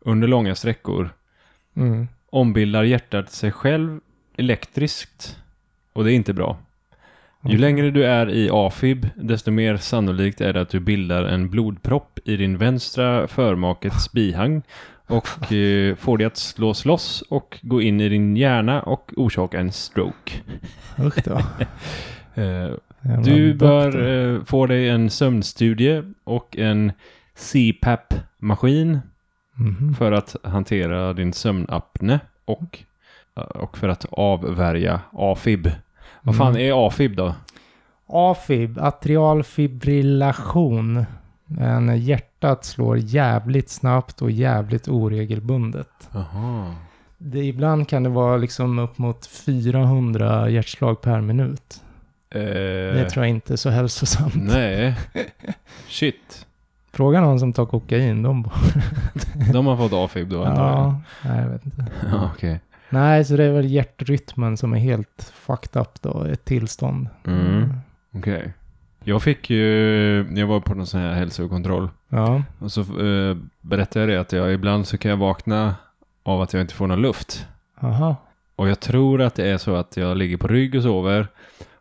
[SPEAKER 1] under långa sträckor
[SPEAKER 2] Mm.
[SPEAKER 1] ombildar hjärtat sig själv elektriskt och det är inte bra. Ju längre du är i AFib, desto mer sannolikt är det att du bildar en blodpropp i din vänstra förmakets bihang och eh, får det att slås loss och gå in i din hjärna och orsaka en stroke.
[SPEAKER 2] Usch då.
[SPEAKER 1] Eh,
[SPEAKER 2] Jävla
[SPEAKER 1] du
[SPEAKER 2] doktor.
[SPEAKER 1] bör eh, få dig en sömnstudie och en CPAP-maskin
[SPEAKER 2] Mhm.
[SPEAKER 1] för att hantera din sömnapne och, eh, och för att avvärja AFib. Vad fan
[SPEAKER 2] Mm.
[SPEAKER 1] är AFib då?
[SPEAKER 2] AFib, atrial fibrillation. En hjärtat slår jävligt snabbt och jävligt oregelbundet.
[SPEAKER 1] Jaha.
[SPEAKER 2] Det, ibland kan det vara liksom upp mot 400 hjärtslag per minut. Det tror jag inte är så hälsosamt.
[SPEAKER 1] Eh, Nej. Shit.
[SPEAKER 2] Fråga någon som tar kokain. De bara,
[SPEAKER 1] De har fått AFib då antar jag.
[SPEAKER 2] ja, nej, jag vet inte.
[SPEAKER 1] Ja, okej.
[SPEAKER 2] Nej, så det är väl hjärtrytmen som är helt fucked up då, ett tillstånd.
[SPEAKER 1] Mm. Okej. Jag fick ju, jag var på någon sån här hälsokontroll.
[SPEAKER 2] Ja,
[SPEAKER 1] Och så eh, berättade jag det att jag ibland så kan jag vakna av att jag inte får någon luft.
[SPEAKER 2] aha.
[SPEAKER 1] Och jag tror att det är så att jag ligger på rygg och sover.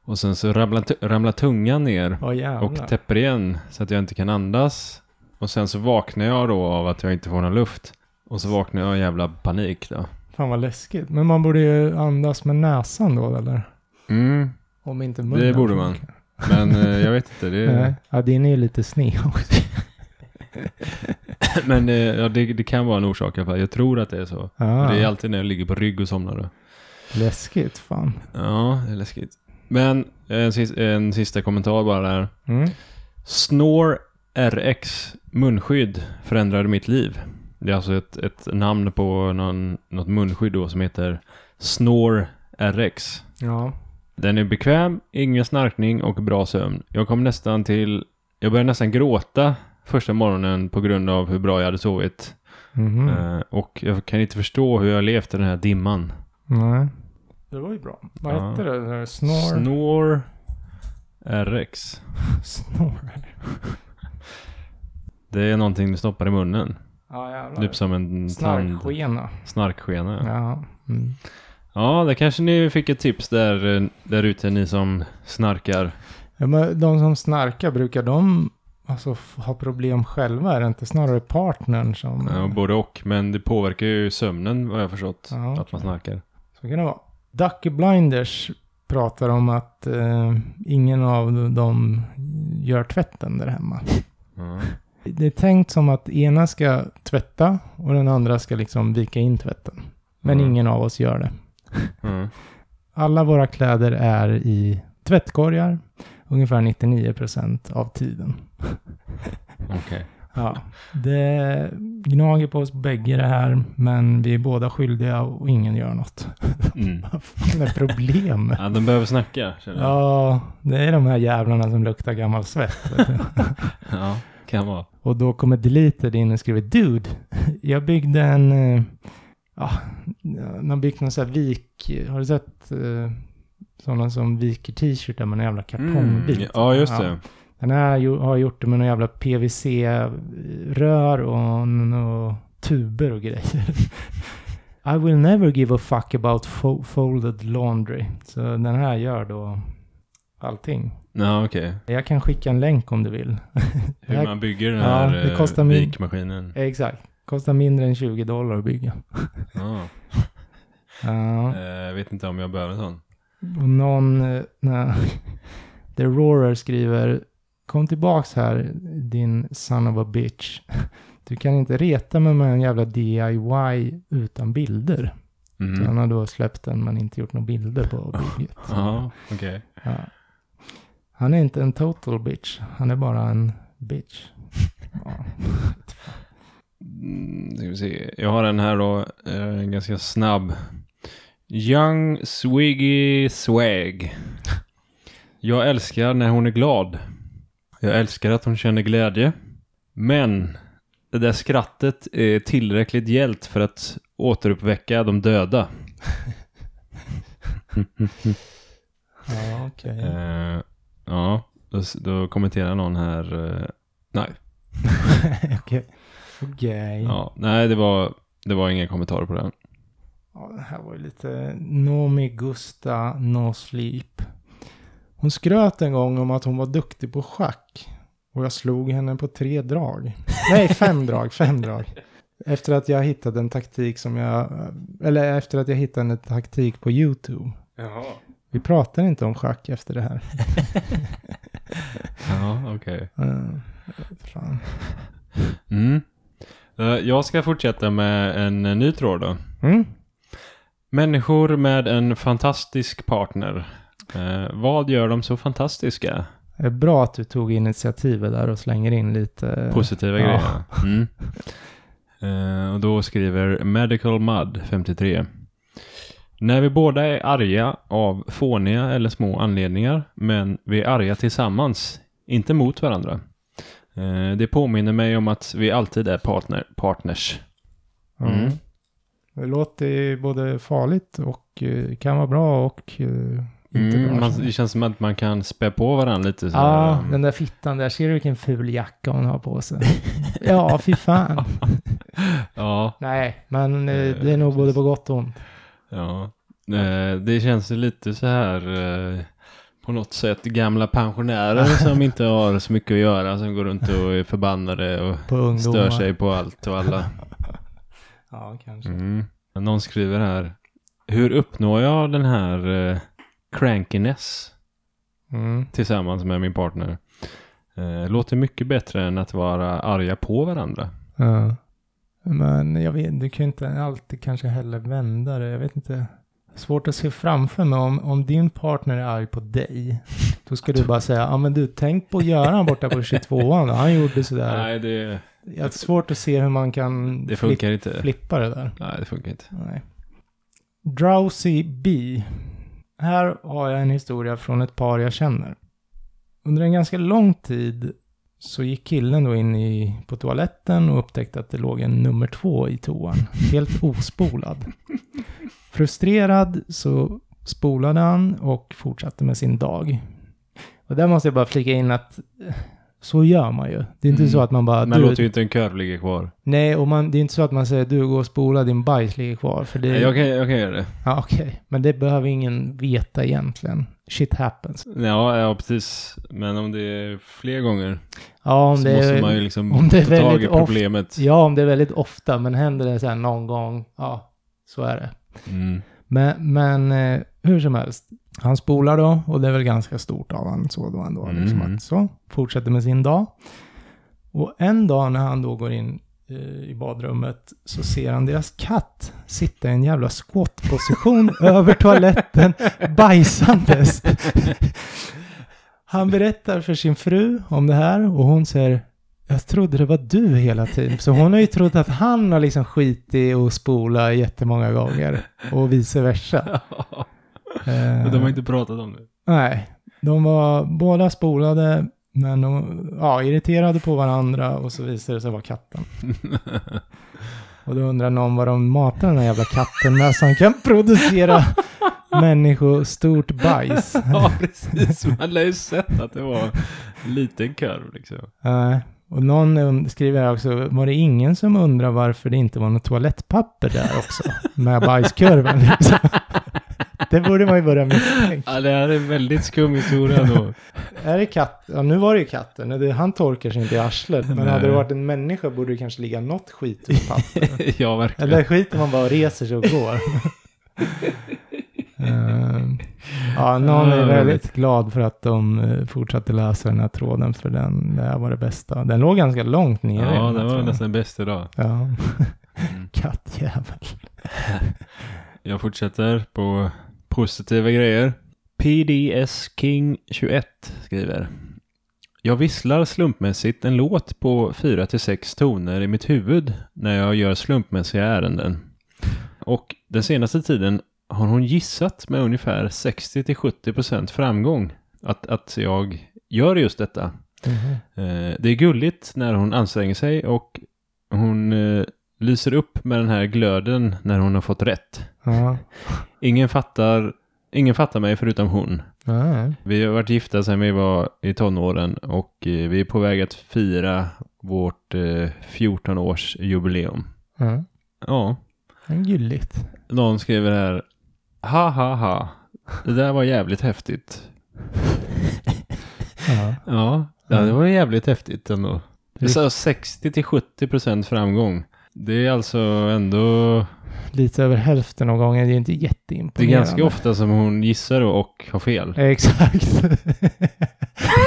[SPEAKER 1] Och sen så ramlar, tu- ramlar tungan ner
[SPEAKER 2] Åh jävlar.
[SPEAKER 1] och täpper igen så att jag inte kan andas. Och sen så vaknar jag då av att jag inte får någon luft. Och så vaknar jag i jävla panik då.
[SPEAKER 2] Fan vad läskigt. Men man borde ju andas med näsan då eller?
[SPEAKER 1] Mm,
[SPEAKER 2] Om inte munnen
[SPEAKER 1] Det borde man.
[SPEAKER 2] funkar.
[SPEAKER 1] Men eh, jag vet inte. Det,
[SPEAKER 2] Nej. Ja, din är ju lite sned också.
[SPEAKER 1] men eh, ja, det, det kan vara en orsak i alla fall. Jag tror att det är så.
[SPEAKER 2] Ah,
[SPEAKER 1] Det är alltid när jag ligger på rygg och somnar. Då.
[SPEAKER 2] Läskigt fan.
[SPEAKER 1] Ja, det är läskigt. Men eh, en, sis- en sista kommentar bara där.
[SPEAKER 2] Mm.
[SPEAKER 1] Snore RX munskydd förändrade mitt liv. Det är alltså ett, ett namn på någon, något munskydd då som heter Snore RX.
[SPEAKER 2] Ja.
[SPEAKER 1] Den är bekväm, ingen snarkning och bra sömn. Jag kom nästan till... Jag började nästan gråta första morgonen på grund av hur bra jag hade sovit.
[SPEAKER 2] Mhm.
[SPEAKER 1] Eh, och jag kan inte förstå hur jag levt i den här dimman.
[SPEAKER 2] Nej. Det var ju bra. Vad
[SPEAKER 1] Ja.
[SPEAKER 2] hette det? där? Snore?
[SPEAKER 1] Snore RX.
[SPEAKER 2] Snore.
[SPEAKER 1] Det är någonting du stoppar i munnen.
[SPEAKER 2] Ja jävlar.
[SPEAKER 1] Typ som en tand...
[SPEAKER 2] Snarkskena.
[SPEAKER 1] Snarkskena. Ja.
[SPEAKER 2] Ja. Mm.
[SPEAKER 1] ja, där kanske ni fick ett tips där, eh, där ute, ni som snarkar.
[SPEAKER 2] ja. Men de som snarkar, brukar de alltså, f- ha problem själva? Är det inte snarare partnern som...
[SPEAKER 1] Ja, både och, men det påverkar ju sömnen vad jag har förstått.
[SPEAKER 2] Ja.
[SPEAKER 1] Att man snarkar.
[SPEAKER 2] Så kan det vara. Ducky Blinders pratar om att eh, ingen av dem gör tvätten där hemma.
[SPEAKER 1] Ja.
[SPEAKER 2] Det är tänkt som att ena ska tvätta och den andra ska liksom vika in tvätten. Men
[SPEAKER 1] Mm.
[SPEAKER 2] ingen av oss gör det.
[SPEAKER 1] Mm.
[SPEAKER 2] Alla våra kläder är i tvättkorgar ungefär 99% av tiden.
[SPEAKER 1] Okej.
[SPEAKER 2] Ja, det gnager på oss bägge det här, men vi är båda skyldiga och ingen gör något.
[SPEAKER 1] Mm.
[SPEAKER 2] Vad fan är problemet?
[SPEAKER 1] Ja, de behöver snacka, känner jag.
[SPEAKER 2] Ja, det är de här jävlarna som luktar gammal svett. vet du.
[SPEAKER 1] Ja. kan vara.
[SPEAKER 2] Och då kommer deleted in och skriver Dude, jag byggde en... eh, Ja, man har byggt någon sån här vik... Har du sett eh, sådana som viker t-shirtar med en jävla kartongbit?
[SPEAKER 1] Mm. Ja, just det.
[SPEAKER 2] Den här jo- har gjort det med några jävla PVC-rör och, n- och tuber och grejer. I will never give a fuck about fo- folded laundry. Så den här gör då allting.
[SPEAKER 1] Ja, okej.
[SPEAKER 2] Jag kan skicka en länk om du vill. Det
[SPEAKER 1] Hur
[SPEAKER 2] här-
[SPEAKER 1] man bygger den
[SPEAKER 2] Ja,
[SPEAKER 1] här
[SPEAKER 2] det
[SPEAKER 1] eh,
[SPEAKER 2] kostar min-
[SPEAKER 1] vikmaskinen.
[SPEAKER 2] Exakt. Kostar mindre än 20 dollar att bygga.
[SPEAKER 1] Ja.
[SPEAKER 2] Ja.
[SPEAKER 1] Eh, Jag vet inte om jag behöver en sån.
[SPEAKER 2] Och någon, eh, nej. The Roarer skriver, kom tillbaks här din son of a bitch. Du kan inte reta mig med en jävla DIY utan bilder.
[SPEAKER 1] Mm.
[SPEAKER 2] Han har då släppt den men inte gjort några bilder på bygget.
[SPEAKER 1] Ja, okej.
[SPEAKER 2] Ja. Han är inte en total bitch, han är bara en bitch. Ja.
[SPEAKER 1] Mm, ska vi se. Jag har en här då, eh, en ganska snabb. Young Swiggy Swag. Jag älskar när hon är glad. Jag älskar att hon känner glädje. Men det där skrattet är tillräckligt hjält för att återuppväcka de döda.
[SPEAKER 2] Ja, okej.
[SPEAKER 1] Eh, ja, då, då kommenterar någon här. Eh, nej,
[SPEAKER 2] Okej. Okej.
[SPEAKER 1] ja, nej det, var, det var inga kommentarer på den.
[SPEAKER 2] Ja, det här var ju lite Nomi Gusta No Sleep. Hon skröt en gång om att hon var duktig på schack. Och jag slog henne på tre drag. Nej, fem drag, fem drag. Efter att jag hittade en taktik som jag... Eller efter att jag hittade en taktik på YouTube.
[SPEAKER 1] Jaha.
[SPEAKER 2] Vi pratar inte om schack efter det här.
[SPEAKER 1] Ja, okej.
[SPEAKER 2] Eh, fan.
[SPEAKER 1] Mm. Eh, Jag ska fortsätta med en eh, ny tråd då.
[SPEAKER 2] Mm.
[SPEAKER 1] Människor med en fantastisk partner. Eh, vad gör dem så fantastiska?
[SPEAKER 2] Det är bra att du tog initiativet där och slänger in lite...
[SPEAKER 1] Positiva
[SPEAKER 2] Eh, Ja.
[SPEAKER 1] grejer. Mm. Eh, och då skriver Medical Mud 53. När vi båda är arga av fåniga eller små anledningar, men vi är arga tillsammans, inte mot varandra. Eh, det påminner mig om att vi alltid är partner, partners. Mm.
[SPEAKER 2] Mm. Det låter ju både farligt och eh, kan vara bra och eh, inte
[SPEAKER 1] Mm,
[SPEAKER 2] bra.
[SPEAKER 1] man, det känns som att man kan spä på varandra lite. Så
[SPEAKER 2] Ja, ah,
[SPEAKER 1] här, mm.
[SPEAKER 2] den där fittan där. Ser du vilken ful jacka hon har på sig? ja, fy fan.
[SPEAKER 1] ja,
[SPEAKER 2] Nej, men eh,
[SPEAKER 1] Eh,
[SPEAKER 2] det är nog både på gott och ont.
[SPEAKER 1] ja. Eh, Det känns ju lite så här eh, på något sätt gamla pensionärer som inte har så mycket att göra som går runt och är förbannade och
[SPEAKER 2] På ungdomar.
[SPEAKER 1] stör sig på allt och alla.
[SPEAKER 2] Ja, kanske.
[SPEAKER 1] Mm. Någon skriver här. Hur uppnår jag den här eh, crankiness
[SPEAKER 2] Mm.
[SPEAKER 1] tillsammans med min partner? Eh, låter mycket bättre än att vara arga på varandra.
[SPEAKER 2] Ja. Men jag vet, du kan ju inte alltid kanske heller vända det. Jag vet inte. Svårt att se framför mig om, om din partner är arg på dig. Då ska du bara säga, ja ah, men du tänk på Göran borta på 22an. Han gjorde sådär.
[SPEAKER 1] Nej, det,
[SPEAKER 2] Jag har svårt att se hur man kan
[SPEAKER 1] det
[SPEAKER 2] flip-
[SPEAKER 1] funkar inte.
[SPEAKER 2] flippa det där.
[SPEAKER 1] Nej, det funkar inte.
[SPEAKER 2] Nej. Drowsy B. Här har jag en historia från ett par jag känner. Under en ganska lång tid så gick killen då in i, på toaletten och upptäckte att det låg en nummer två i toan. Helt ospolad. Frustrerad så spolade han och fortsatte med sin dag. Och där måste jag bara flika in att eh, så gör man ju. Det är inte
[SPEAKER 1] Mm.
[SPEAKER 2] så att man bara...
[SPEAKER 1] Man
[SPEAKER 2] "Du,
[SPEAKER 1] låter ju inte en kurv ligga kvar.
[SPEAKER 2] Nej, och man, det är inte så att man säger du går och spola, din bajs ligger kvar. För det,
[SPEAKER 1] Nej, Jag kan, jag kan göra det.
[SPEAKER 2] ja, okej. Men det behöver ingen veta egentligen. Shit happens.
[SPEAKER 1] Ja, ja, precis. Men om det är fler gånger
[SPEAKER 2] Ja, om
[SPEAKER 1] så
[SPEAKER 2] det,
[SPEAKER 1] måste
[SPEAKER 2] är,
[SPEAKER 1] man ju liksom
[SPEAKER 2] om det är
[SPEAKER 1] ta tag i
[SPEAKER 2] väldigt ofta.
[SPEAKER 1] problemet.
[SPEAKER 2] ja, om det är väldigt ofta, men händer det sen någon gång, ja, så är det.
[SPEAKER 1] Mm.
[SPEAKER 2] Men, men eh, hur som helst, han spolar då och det är väl ganska stort av han så då ändå. Liksom
[SPEAKER 1] Mm.
[SPEAKER 2] att, så, fortsätter med sin dag. Och en dag när han då går in eh, i badrummet så ser han deras katt sitta i en jävla skottposition över toaletten bajsandes. Han berättar för sin fru om det här och hon säger jag trodde det var du hela tiden. Så hon har ju trott att han har liksom skitit och spola jättemånga gånger. Och vice versa.
[SPEAKER 1] Men de
[SPEAKER 2] Eh,
[SPEAKER 1] har inte pratat om det.
[SPEAKER 2] Nej, de var båda spolade Men de ja, irriterade på varandra och så visade det sig vara katten. och då undrar någon vad de matar den här jävla katten med så han kan producera människostort bajs.
[SPEAKER 1] Ja, precis. Man lär ju sett att det var en liten kurv liksom.
[SPEAKER 2] Nej. och någon und- skriver här också, var det ingen som undrar varför det inte var något toalettpapper där också? Med bajskurven liksom. Det borde man ju börja misstänka.
[SPEAKER 1] Ja, det här är en väldigt skum historia då.
[SPEAKER 2] Är det katt? Ja, nu var det ju katten. Det- Han torkar sig inte i arslet. Men
[SPEAKER 1] Nej.
[SPEAKER 2] hade det varit en människa borde det kanske ligga något skit i papper.
[SPEAKER 1] ja, verkligen.
[SPEAKER 2] Eller skiter man bara och reser sig och går. Ehm, ja, någon
[SPEAKER 1] Ja,
[SPEAKER 2] är
[SPEAKER 1] roligt.
[SPEAKER 2] väldigt glad för att de eh, fortsatte läsa den här tråden. För den det här var det bästa. Den låg ganska långt ner. i den
[SPEAKER 1] Ja,
[SPEAKER 2] här
[SPEAKER 1] det var
[SPEAKER 2] tråden.
[SPEAKER 1] nästan bäst idag.
[SPEAKER 2] Ja.
[SPEAKER 1] Mm.
[SPEAKER 2] Kattjävel.
[SPEAKER 1] Jag fortsätter på positiva grejer. PDS King 21 skriver. Jag visslar slumpmässigt en låt på 4-6 toner i mitt huvud när jag gör slumpmässiga ärenden. Och den senaste tiden har hon gissat med ungefär 60-70% framgång att, att jag gör just detta.
[SPEAKER 2] Mhm.
[SPEAKER 1] Eh, Det är gulligt när hon anstränger sig och hon eh, lyser upp med den här glöden när hon har fått rätt.
[SPEAKER 2] Ja.
[SPEAKER 1] Ingen fattar, ingen fattar mig förutom hon.
[SPEAKER 2] Ja.
[SPEAKER 1] Vi har varit gifta sedan vi var i tonåren och eh, vi är på väg att fira vårt eh, 14-årsjubileum.
[SPEAKER 2] Ja.
[SPEAKER 1] Ja,
[SPEAKER 2] Men Gulligt.
[SPEAKER 1] någon skriver här. Ha ha ha. Det där var jävligt häftigt.
[SPEAKER 2] Ja.
[SPEAKER 1] Ja, ja det var jävligt häftigt ändå.
[SPEAKER 2] Det-
[SPEAKER 1] Det sa 60 till 70 procent framgång. Det är alltså ändå...
[SPEAKER 2] Lite över hälften av gången. Det är inte
[SPEAKER 1] Det är
[SPEAKER 2] jätteimponerande.
[SPEAKER 1] ganska ofta som hon gissar då och har fel.
[SPEAKER 2] Exakt. Det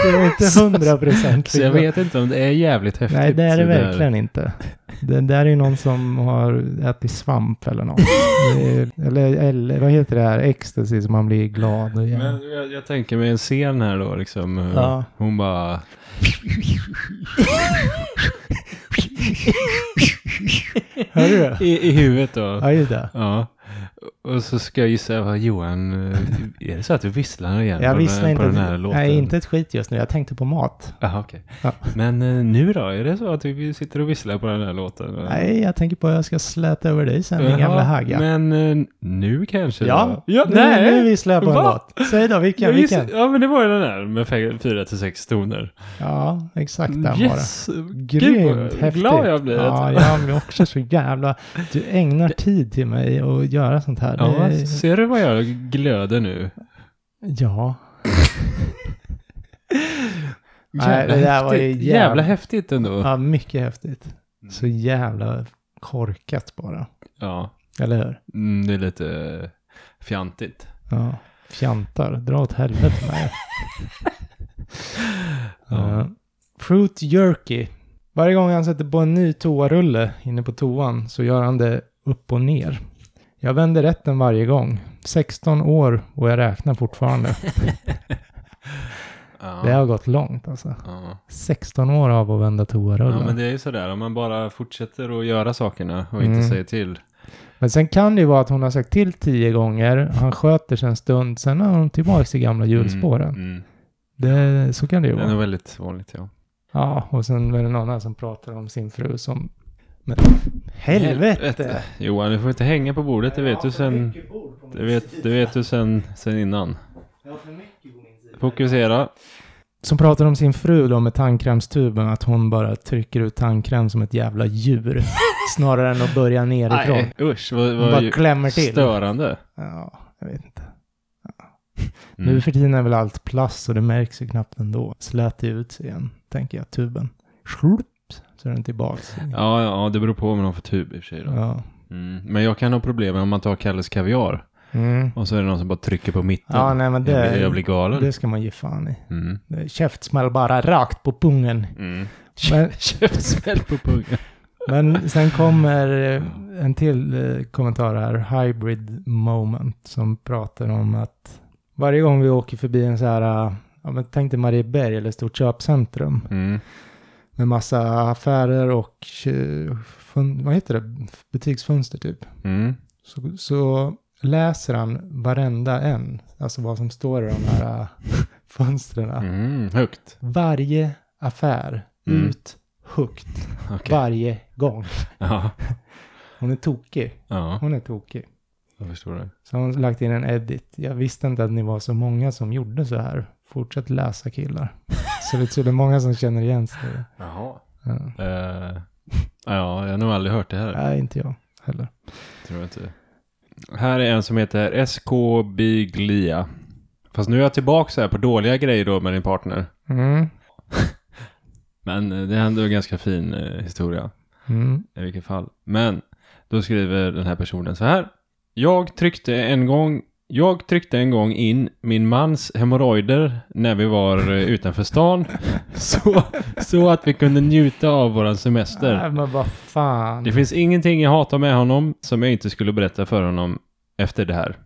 [SPEAKER 2] är inte hundra procent.
[SPEAKER 1] Så jag vet inte om det är jävligt häftigt.
[SPEAKER 2] Nej, det är det
[SPEAKER 1] där.
[SPEAKER 2] verkligen inte. Det där är ju någon som har ätit svamp eller något. Det är- Eller, eller vad heter det här, ecstasy som man blir glad och jävla.
[SPEAKER 1] Men jag, jag tänker mig en scen här då liksom. hur
[SPEAKER 2] Ja.
[SPEAKER 1] Hon bara...
[SPEAKER 2] Hör du det?
[SPEAKER 1] I, I huvudet då.
[SPEAKER 2] Ja, just det.
[SPEAKER 1] Ja. Och så ska jag gissa, vad, Johan, eh, är det så att du visslar igen
[SPEAKER 2] Jag
[SPEAKER 1] på, den,
[SPEAKER 2] visste
[SPEAKER 1] här-
[SPEAKER 2] inte.
[SPEAKER 1] på den här låten?
[SPEAKER 2] Nej, inte ett skit just nu. Jag tänkte på mat.
[SPEAKER 1] Jaha, okej.
[SPEAKER 2] Ja.
[SPEAKER 1] Men eh, nu då? Är det så att vi sitter och visslar på den här låten?
[SPEAKER 2] Nej, jag tänker på att jag ska släta över dig sen, din gamla
[SPEAKER 1] Jaha,
[SPEAKER 2] hagga.
[SPEAKER 1] Men eh, nu kanske
[SPEAKER 2] ja,
[SPEAKER 1] då? Ja,
[SPEAKER 2] nu,
[SPEAKER 1] nej.
[SPEAKER 2] nu visslar jag på en
[SPEAKER 1] Va?
[SPEAKER 2] låt. Säg då, vilken,
[SPEAKER 1] Jag gissar-
[SPEAKER 2] vilken?
[SPEAKER 1] Ja, men det var ju den där med fe- fyra till sex toner.
[SPEAKER 2] Ja, exakt den var det.
[SPEAKER 1] yes! Gud,
[SPEAKER 2] Grymt
[SPEAKER 1] vad
[SPEAKER 2] häftigt.
[SPEAKER 1] glad jag blir.
[SPEAKER 2] Ja, jag blir också så jävla... Du ägnar tid till mig att göra sånt här.
[SPEAKER 1] Ja,
[SPEAKER 2] Det-
[SPEAKER 1] ser du vad jag glöder nu?
[SPEAKER 2] ja. Nej, det där var ju
[SPEAKER 1] häftigt.
[SPEAKER 2] jävla-
[SPEAKER 1] jävla häftigt ändå. Ja.
[SPEAKER 2] ja, mycket häftigt.
[SPEAKER 1] Mm.
[SPEAKER 2] Så jävla korkat bara. Eller hur?
[SPEAKER 1] Mm, det är lite eh, fjantigt.
[SPEAKER 2] Ja. Fjantar, dra åt helvete med er.
[SPEAKER 1] Ja.
[SPEAKER 2] Ja. Fruit jerky. Varje gång han sätter på en ny toarulle inne på toan så gör han det upp och ner. Jag vänder rätt den varje gång. 16 år och jag räknar fortfarande.
[SPEAKER 1] Ja.
[SPEAKER 2] Det har gått långt alltså.
[SPEAKER 1] Ja.
[SPEAKER 2] 16 år av att vända toarullen.
[SPEAKER 1] ja, men
[SPEAKER 2] men,
[SPEAKER 1] det är ju sådär. Om man bara fortsätter att göra sakerna och inte
[SPEAKER 2] Mm.
[SPEAKER 1] säger till.
[SPEAKER 2] sen kan det ju vara att hon har sagt till tio gånger. Han sköter sig en stund. Sen är hon tillbaka till gamla hjulspåren.
[SPEAKER 1] Mm. Mm.
[SPEAKER 2] Det, så kan det ju
[SPEAKER 1] Det är nog
[SPEAKER 2] vara.
[SPEAKER 1] väldigt vanligt, ja.
[SPEAKER 2] Ja, och sen är det någon här som pratar om sin fru som... Men, helvete!
[SPEAKER 1] Johan, du får inte hänga på bordet. Det vet du sen... Det vet, det vet du sen, sen innan. Fokusera.
[SPEAKER 2] Som pratar om sin fru då med tandkrämstuben, att hon bara trycker ut tandkräm som ett jävla djur. snarare än att börja nerifrån.
[SPEAKER 1] Nej, usch. Vad,
[SPEAKER 2] Hon
[SPEAKER 1] vad
[SPEAKER 2] bara klämmer till.
[SPEAKER 1] störande.
[SPEAKER 2] Ja, jag vet inte.
[SPEAKER 1] Mm.
[SPEAKER 2] Nu för tiden är väl allt plast så det märks ju knappt ändå. Slät det ut sig igen, tänker jag, tuben. Schlup, så är den tillbaks.
[SPEAKER 1] Ja, ja, det beror på vad man har för tub i och för sig. Då.
[SPEAKER 2] Ja.
[SPEAKER 1] Mm. Men jag kan ha problem med om man tar Kalles Kaviar
[SPEAKER 2] Mm.
[SPEAKER 1] och så är det någon som bara trycker på mitten.
[SPEAKER 2] Ja, nej men
[SPEAKER 1] jag, blir,
[SPEAKER 2] det,
[SPEAKER 1] jag blir galen.
[SPEAKER 2] det ska man ge fan i.
[SPEAKER 1] Mm.
[SPEAKER 2] Det- Käftsmäll bara rakt på pungen.
[SPEAKER 1] Mm.
[SPEAKER 2] Men-
[SPEAKER 1] Käftsmäll på pungen.
[SPEAKER 2] Men sen kommer eh, en till eh, kommentar här, Hybrid Moment, som pratar om att varje gång vi åker förbi en så här, eh, ja men tänk dig Marieberg eller stort köpcentrum
[SPEAKER 1] Mm.
[SPEAKER 2] med massa affärer och, eh, fun- vad heter det, butiksfönster typ.
[SPEAKER 1] Mm.
[SPEAKER 2] Så, så läser han varenda en, alltså vad som står i de här eh, fönstren.
[SPEAKER 1] Mm, högt.
[SPEAKER 2] Varje affär
[SPEAKER 1] Mm.
[SPEAKER 2] ut högt
[SPEAKER 1] Okej.
[SPEAKER 2] varje gång.
[SPEAKER 1] Ja,
[SPEAKER 2] Hon är tokig.
[SPEAKER 1] ja,
[SPEAKER 2] Hon är tokig.
[SPEAKER 1] jag förstår det.
[SPEAKER 2] Så har hon lagt in en edit. Jag visste inte att ni var så många som gjorde så här. Fortsätt läsa killar. Så det är tydligen många som känner igen sig.
[SPEAKER 1] Jaha.
[SPEAKER 2] Ja.
[SPEAKER 1] Eh, ja, jag har nog aldrig hört det här.
[SPEAKER 2] Nej, inte jag heller.
[SPEAKER 1] Tror jag inte. Här är en som heter SK Biglia. Fast nu är jag tillbaka så här på dåliga grejer då med din partner.
[SPEAKER 2] Mm.
[SPEAKER 1] Men eh, det är ändå en ganska fin eh, historia
[SPEAKER 2] Mm.
[SPEAKER 1] i vilket fall. Men då skriver den här personen så här. Jag tryckte en gång jag tryckte en gång in min mans hemorrojder när vi var eh, utanför stan så, så att vi kunde njuta av våran semester.
[SPEAKER 2] Nej, men vad fan.
[SPEAKER 1] Det finns ingenting jag hatar med honom som jag inte skulle berätta för honom efter det här.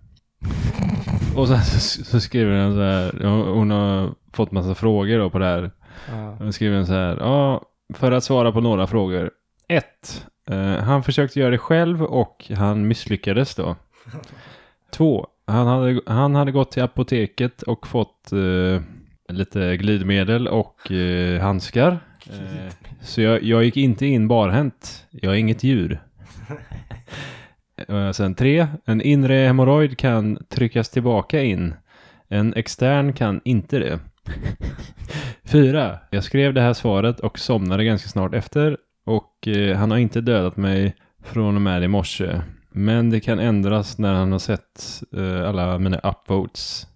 [SPEAKER 1] Och sen så, så skriver han så här, hon hon har fått massa frågor då på det här.
[SPEAKER 2] Ja.
[SPEAKER 1] Hon skriver så här, ja, för att svara på några frågor. 1. han försökte göra det själv och han misslyckades då. 2. Han hade, han hade gått till apoteket och fått eh, lite glidmedel och eh, handskar. Eh, så jag, jag gick inte in barhänt. Jag är inget djur. Eh, Sen tre, en inre hemorrojd kan tryckas tillbaka in. En extern kan inte det. Fyra, jag skrev det här svaret och somnade ganska snart efter och eh, han har inte dödat mig från och med i morse. Men det kan ändras när han har sett eh, alla mina upvotes.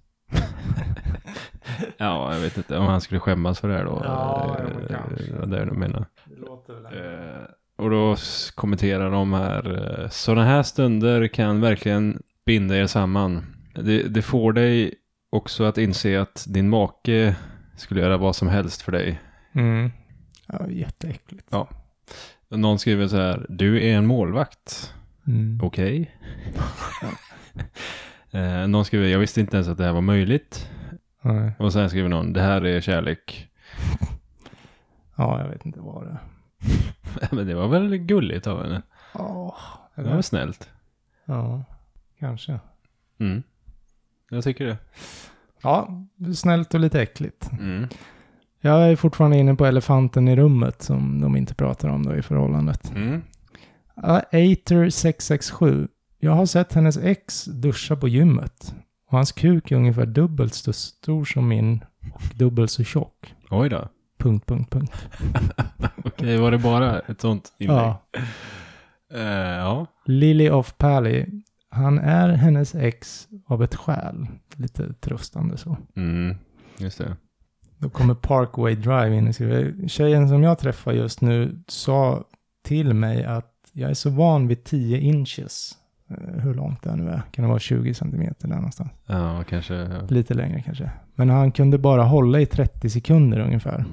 [SPEAKER 1] ja, jag vet inte om han skulle skämmas för det här då.
[SPEAKER 2] Ja, jo,
[SPEAKER 1] Eh,
[SPEAKER 2] kanske.
[SPEAKER 1] vad Det är det jag menar.
[SPEAKER 2] Det låter väl ändå-
[SPEAKER 1] Eh, och då s- kommenterar de här. eh, Sådana här stunder kan verkligen binda er samman. Det, det får dig också att inse att din make skulle göra vad som helst för dig.
[SPEAKER 2] Mm. Ja, jätteäckligt.
[SPEAKER 1] Ja. Någon skriver så här. Du är en målvakt. Oh.
[SPEAKER 2] Mm.
[SPEAKER 1] Okej. eh, någon skriver. Jag visste inte ens att det här var möjligt.
[SPEAKER 2] Nej.
[SPEAKER 1] Och sen skriver någon. Det här är kärlek.
[SPEAKER 2] Ja, jag vet inte vad det är.
[SPEAKER 1] Men det var väl gulligt av henne.
[SPEAKER 2] Ja,
[SPEAKER 1] Det
[SPEAKER 2] eller?
[SPEAKER 1] var snällt.
[SPEAKER 2] Ja, kanske.
[SPEAKER 1] Mm. Jag tycker det.
[SPEAKER 2] Ja, snällt och lite äckligt.
[SPEAKER 1] Mm.
[SPEAKER 2] Jag är fortfarande inne på elefanten i rummet som de inte pratar om då i förhållandet.
[SPEAKER 1] Mm.
[SPEAKER 2] Ja, Ater667. Jag har sett hennes ex duscha på gymmet. Och hans kuk är ungefär dubbelt så stor som min och dubbelt så tjock.
[SPEAKER 1] Oj då.
[SPEAKER 2] Punkt, punkt, punkt.
[SPEAKER 1] Okej, var det bara ett sånt inlägg? Ja.
[SPEAKER 2] Ja.
[SPEAKER 1] ja.
[SPEAKER 2] Lily of Pally. Han är hennes ex av ett skäl. Lite tröstande så.
[SPEAKER 1] Mm, just det.
[SPEAKER 2] Då kommer Parkway Drive in och skriver. Tjejen som jag träffar just nu sa till mig att jag är så van vid 10 inches. Eh, Hur långt det nu är. Kan det vara 20 centimeter där någonstans?
[SPEAKER 1] Ja, kanske. Ja.
[SPEAKER 2] Lite längre kanske. Men han kunde bara hålla i 30 sekunder ungefär.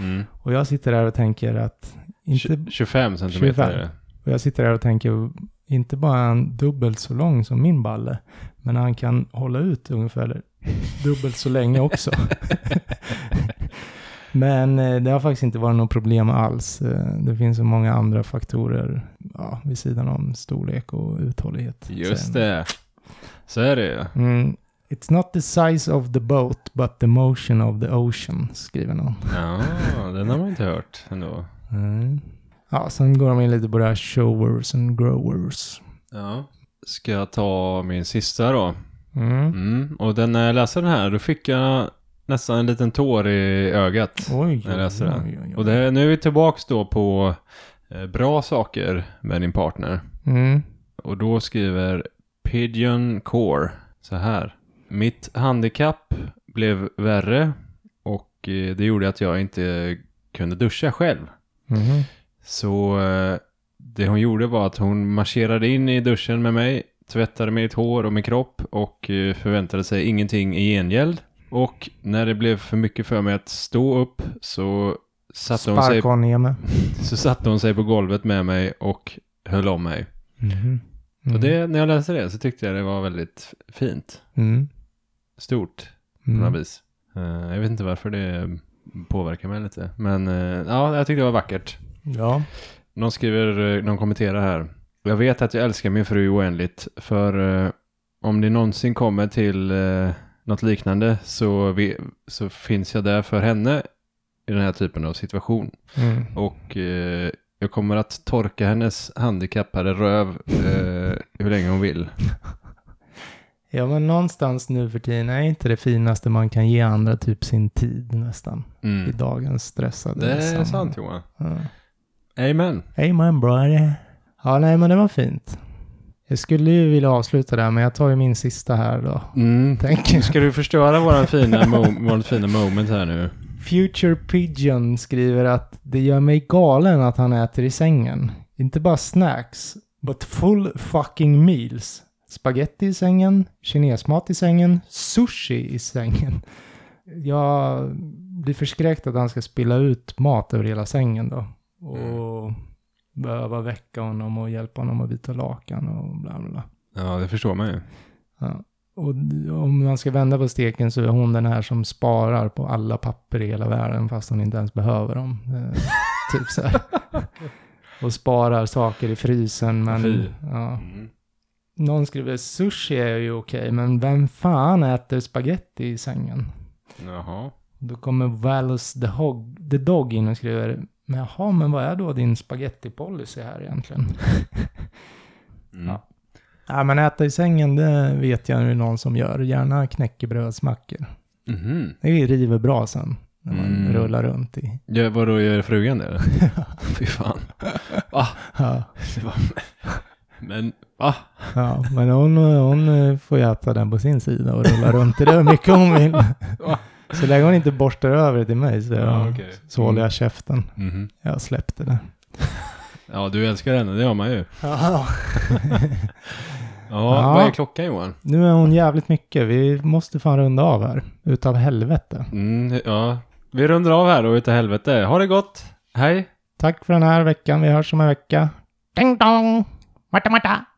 [SPEAKER 1] Mm.
[SPEAKER 2] Och jag sitter där och tänker att... Inte,
[SPEAKER 1] Tj- 25 centimeter
[SPEAKER 2] 25.
[SPEAKER 1] är det.
[SPEAKER 2] och jag sitter där och tänker, inte bara är han dubbelt så lång som min balle, men han kan hålla ut ungefär dubbelt så länge också. men eh, det har faktiskt inte varit något problem alls. Eh, Det finns så många andra faktorer ja, vid sidan om storlek och uthållighet.
[SPEAKER 1] Just
[SPEAKER 2] säger
[SPEAKER 1] det. Så är det ju.
[SPEAKER 2] han. Mm. It's not the size of the boat, but the motion of the ocean, skriver någon.
[SPEAKER 1] Ja, den har man inte hört ändå.
[SPEAKER 2] Mm. Ja, sen går de in lite på det här showers and growers.
[SPEAKER 1] Ja. Ska jag ta min sista då?
[SPEAKER 2] Mm.
[SPEAKER 1] Mm. Och den, när jag läste den här, då fick jag nästan en liten tår i ögat.
[SPEAKER 2] Oj,
[SPEAKER 1] Jag läser
[SPEAKER 2] oj,
[SPEAKER 1] den.
[SPEAKER 2] oj, oj.
[SPEAKER 1] Och det, nu är vi tillbaka då på eh, bra saker med din partner.
[SPEAKER 2] Mm.
[SPEAKER 1] Och då skriver Pigeon Core så här. Mitt handikapp blev värre och eh, det gjorde att jag inte kunde duscha själv.
[SPEAKER 2] Mhm.
[SPEAKER 1] Så eh, det hon gjorde var att hon marscherade in i duschen med mig, tvättade mitt hår och min kropp och eh, förväntade sig ingenting i gengäld. Och när det blev för mycket för mig att stå upp så satte, hon sig,
[SPEAKER 2] Sparka honom ner med.
[SPEAKER 1] så satte hon sig på golvet med mig och höll om mig.
[SPEAKER 2] Mhm.
[SPEAKER 1] Och det, när jag läste det så tyckte jag det var väldigt fint.
[SPEAKER 2] Mm.
[SPEAKER 1] Stort på
[SPEAKER 2] Mm.
[SPEAKER 1] något vis. Eh, jag vet inte varför det påverkar mig lite. Men eh, ja, jag tyckte det var vackert.
[SPEAKER 2] Ja.
[SPEAKER 1] Någon skriver, eh, någon kommenterar här. Jag vet att jag älskar min fru oändligt. För eh, om det någonsin kommer till eh, något liknande så, vi, så finns jag där för henne i den här typen av situation.
[SPEAKER 2] Mm.
[SPEAKER 1] Och eh, jag kommer att torka hennes handikappade röv eh, hur länge hon vill.
[SPEAKER 2] Ja, men någonstans nu för tiden är inte det finaste man kan ge andra typ sin tid nästan.
[SPEAKER 1] Mm.
[SPEAKER 2] I dagens stressade
[SPEAKER 1] Det är
[SPEAKER 2] sammanhang.
[SPEAKER 1] sant Johan.
[SPEAKER 2] Ja.
[SPEAKER 1] Amen.
[SPEAKER 2] Amen brother. Ja, nej men det var fint. Jag skulle ju vilja avsluta där, men jag tar ju min sista här då.
[SPEAKER 1] Mm.
[SPEAKER 2] Tänker.
[SPEAKER 1] Ska du förstöra våran fina, mo- våran fina moment här nu?
[SPEAKER 2] Future Pigeon skriver att det gör mig galen att han äter i sängen. Inte bara snacks, but full fucking meals. Spaghetti i sängen, kinesmat i sängen, sushi i sängen. Jag blir förskräckt att han ska spilla ut mat över hela sängen då. Och behöva väcka honom och hjälpa honom att byta lakan och bla bla bla.
[SPEAKER 1] Ja, det förstår man ju.
[SPEAKER 2] Ja. Och d- om man ska vända på steken så är hon den här som sparar på alla papper i hela världen fast hon inte ens behöver dem. Eh, typ så här. Och sparar saker i frysen. Men,
[SPEAKER 1] Fy.
[SPEAKER 2] ja.
[SPEAKER 1] Mm.
[SPEAKER 2] Någon skriver sushi är ju okej, men vem fan äter spaghetti i sängen?
[SPEAKER 1] Jaha.
[SPEAKER 2] Då kommer Valus the, Hog, the Dog in och skriver, men jaha, men vad är då din spagettipolicy här egentligen?
[SPEAKER 1] Mm.
[SPEAKER 2] Ja. Ja, men äta i sängen, det vet jag nu någon som gör. Gärna knäckebrödsmackor.
[SPEAKER 1] Mhm.
[SPEAKER 2] Det river bra sen när man
[SPEAKER 1] Mm.
[SPEAKER 2] rullar runt i.
[SPEAKER 1] Ja, vadå, gör frugan det? eller? Fy fan.
[SPEAKER 2] Ja,
[SPEAKER 1] Det var... Men, va?
[SPEAKER 2] ja, men hon, hon eh, får ju äta den på sin sida och rulla runt i det hur mycket hon vill.
[SPEAKER 1] Va?
[SPEAKER 2] Så länge hon inte borstar över det till mig så,
[SPEAKER 1] Ja, okej. Mm.
[SPEAKER 2] så håller jag käften.
[SPEAKER 1] Mhm.
[SPEAKER 2] Jag släppte det.
[SPEAKER 1] Ja, du älskar henne, det gör man ju.
[SPEAKER 2] Ja.
[SPEAKER 1] Ja,
[SPEAKER 2] Ja.
[SPEAKER 1] vad är klockan Johan?
[SPEAKER 2] Nu är hon jävligt mycket. Vi måste fan runda av här. Utav helvete.
[SPEAKER 1] Mm, ja. Vi rundar av här då, utav helvete. Ha det gott. Hej.
[SPEAKER 2] Tack för den här veckan. Vi hörs om en vecka. Ding dong! Marta, Marta!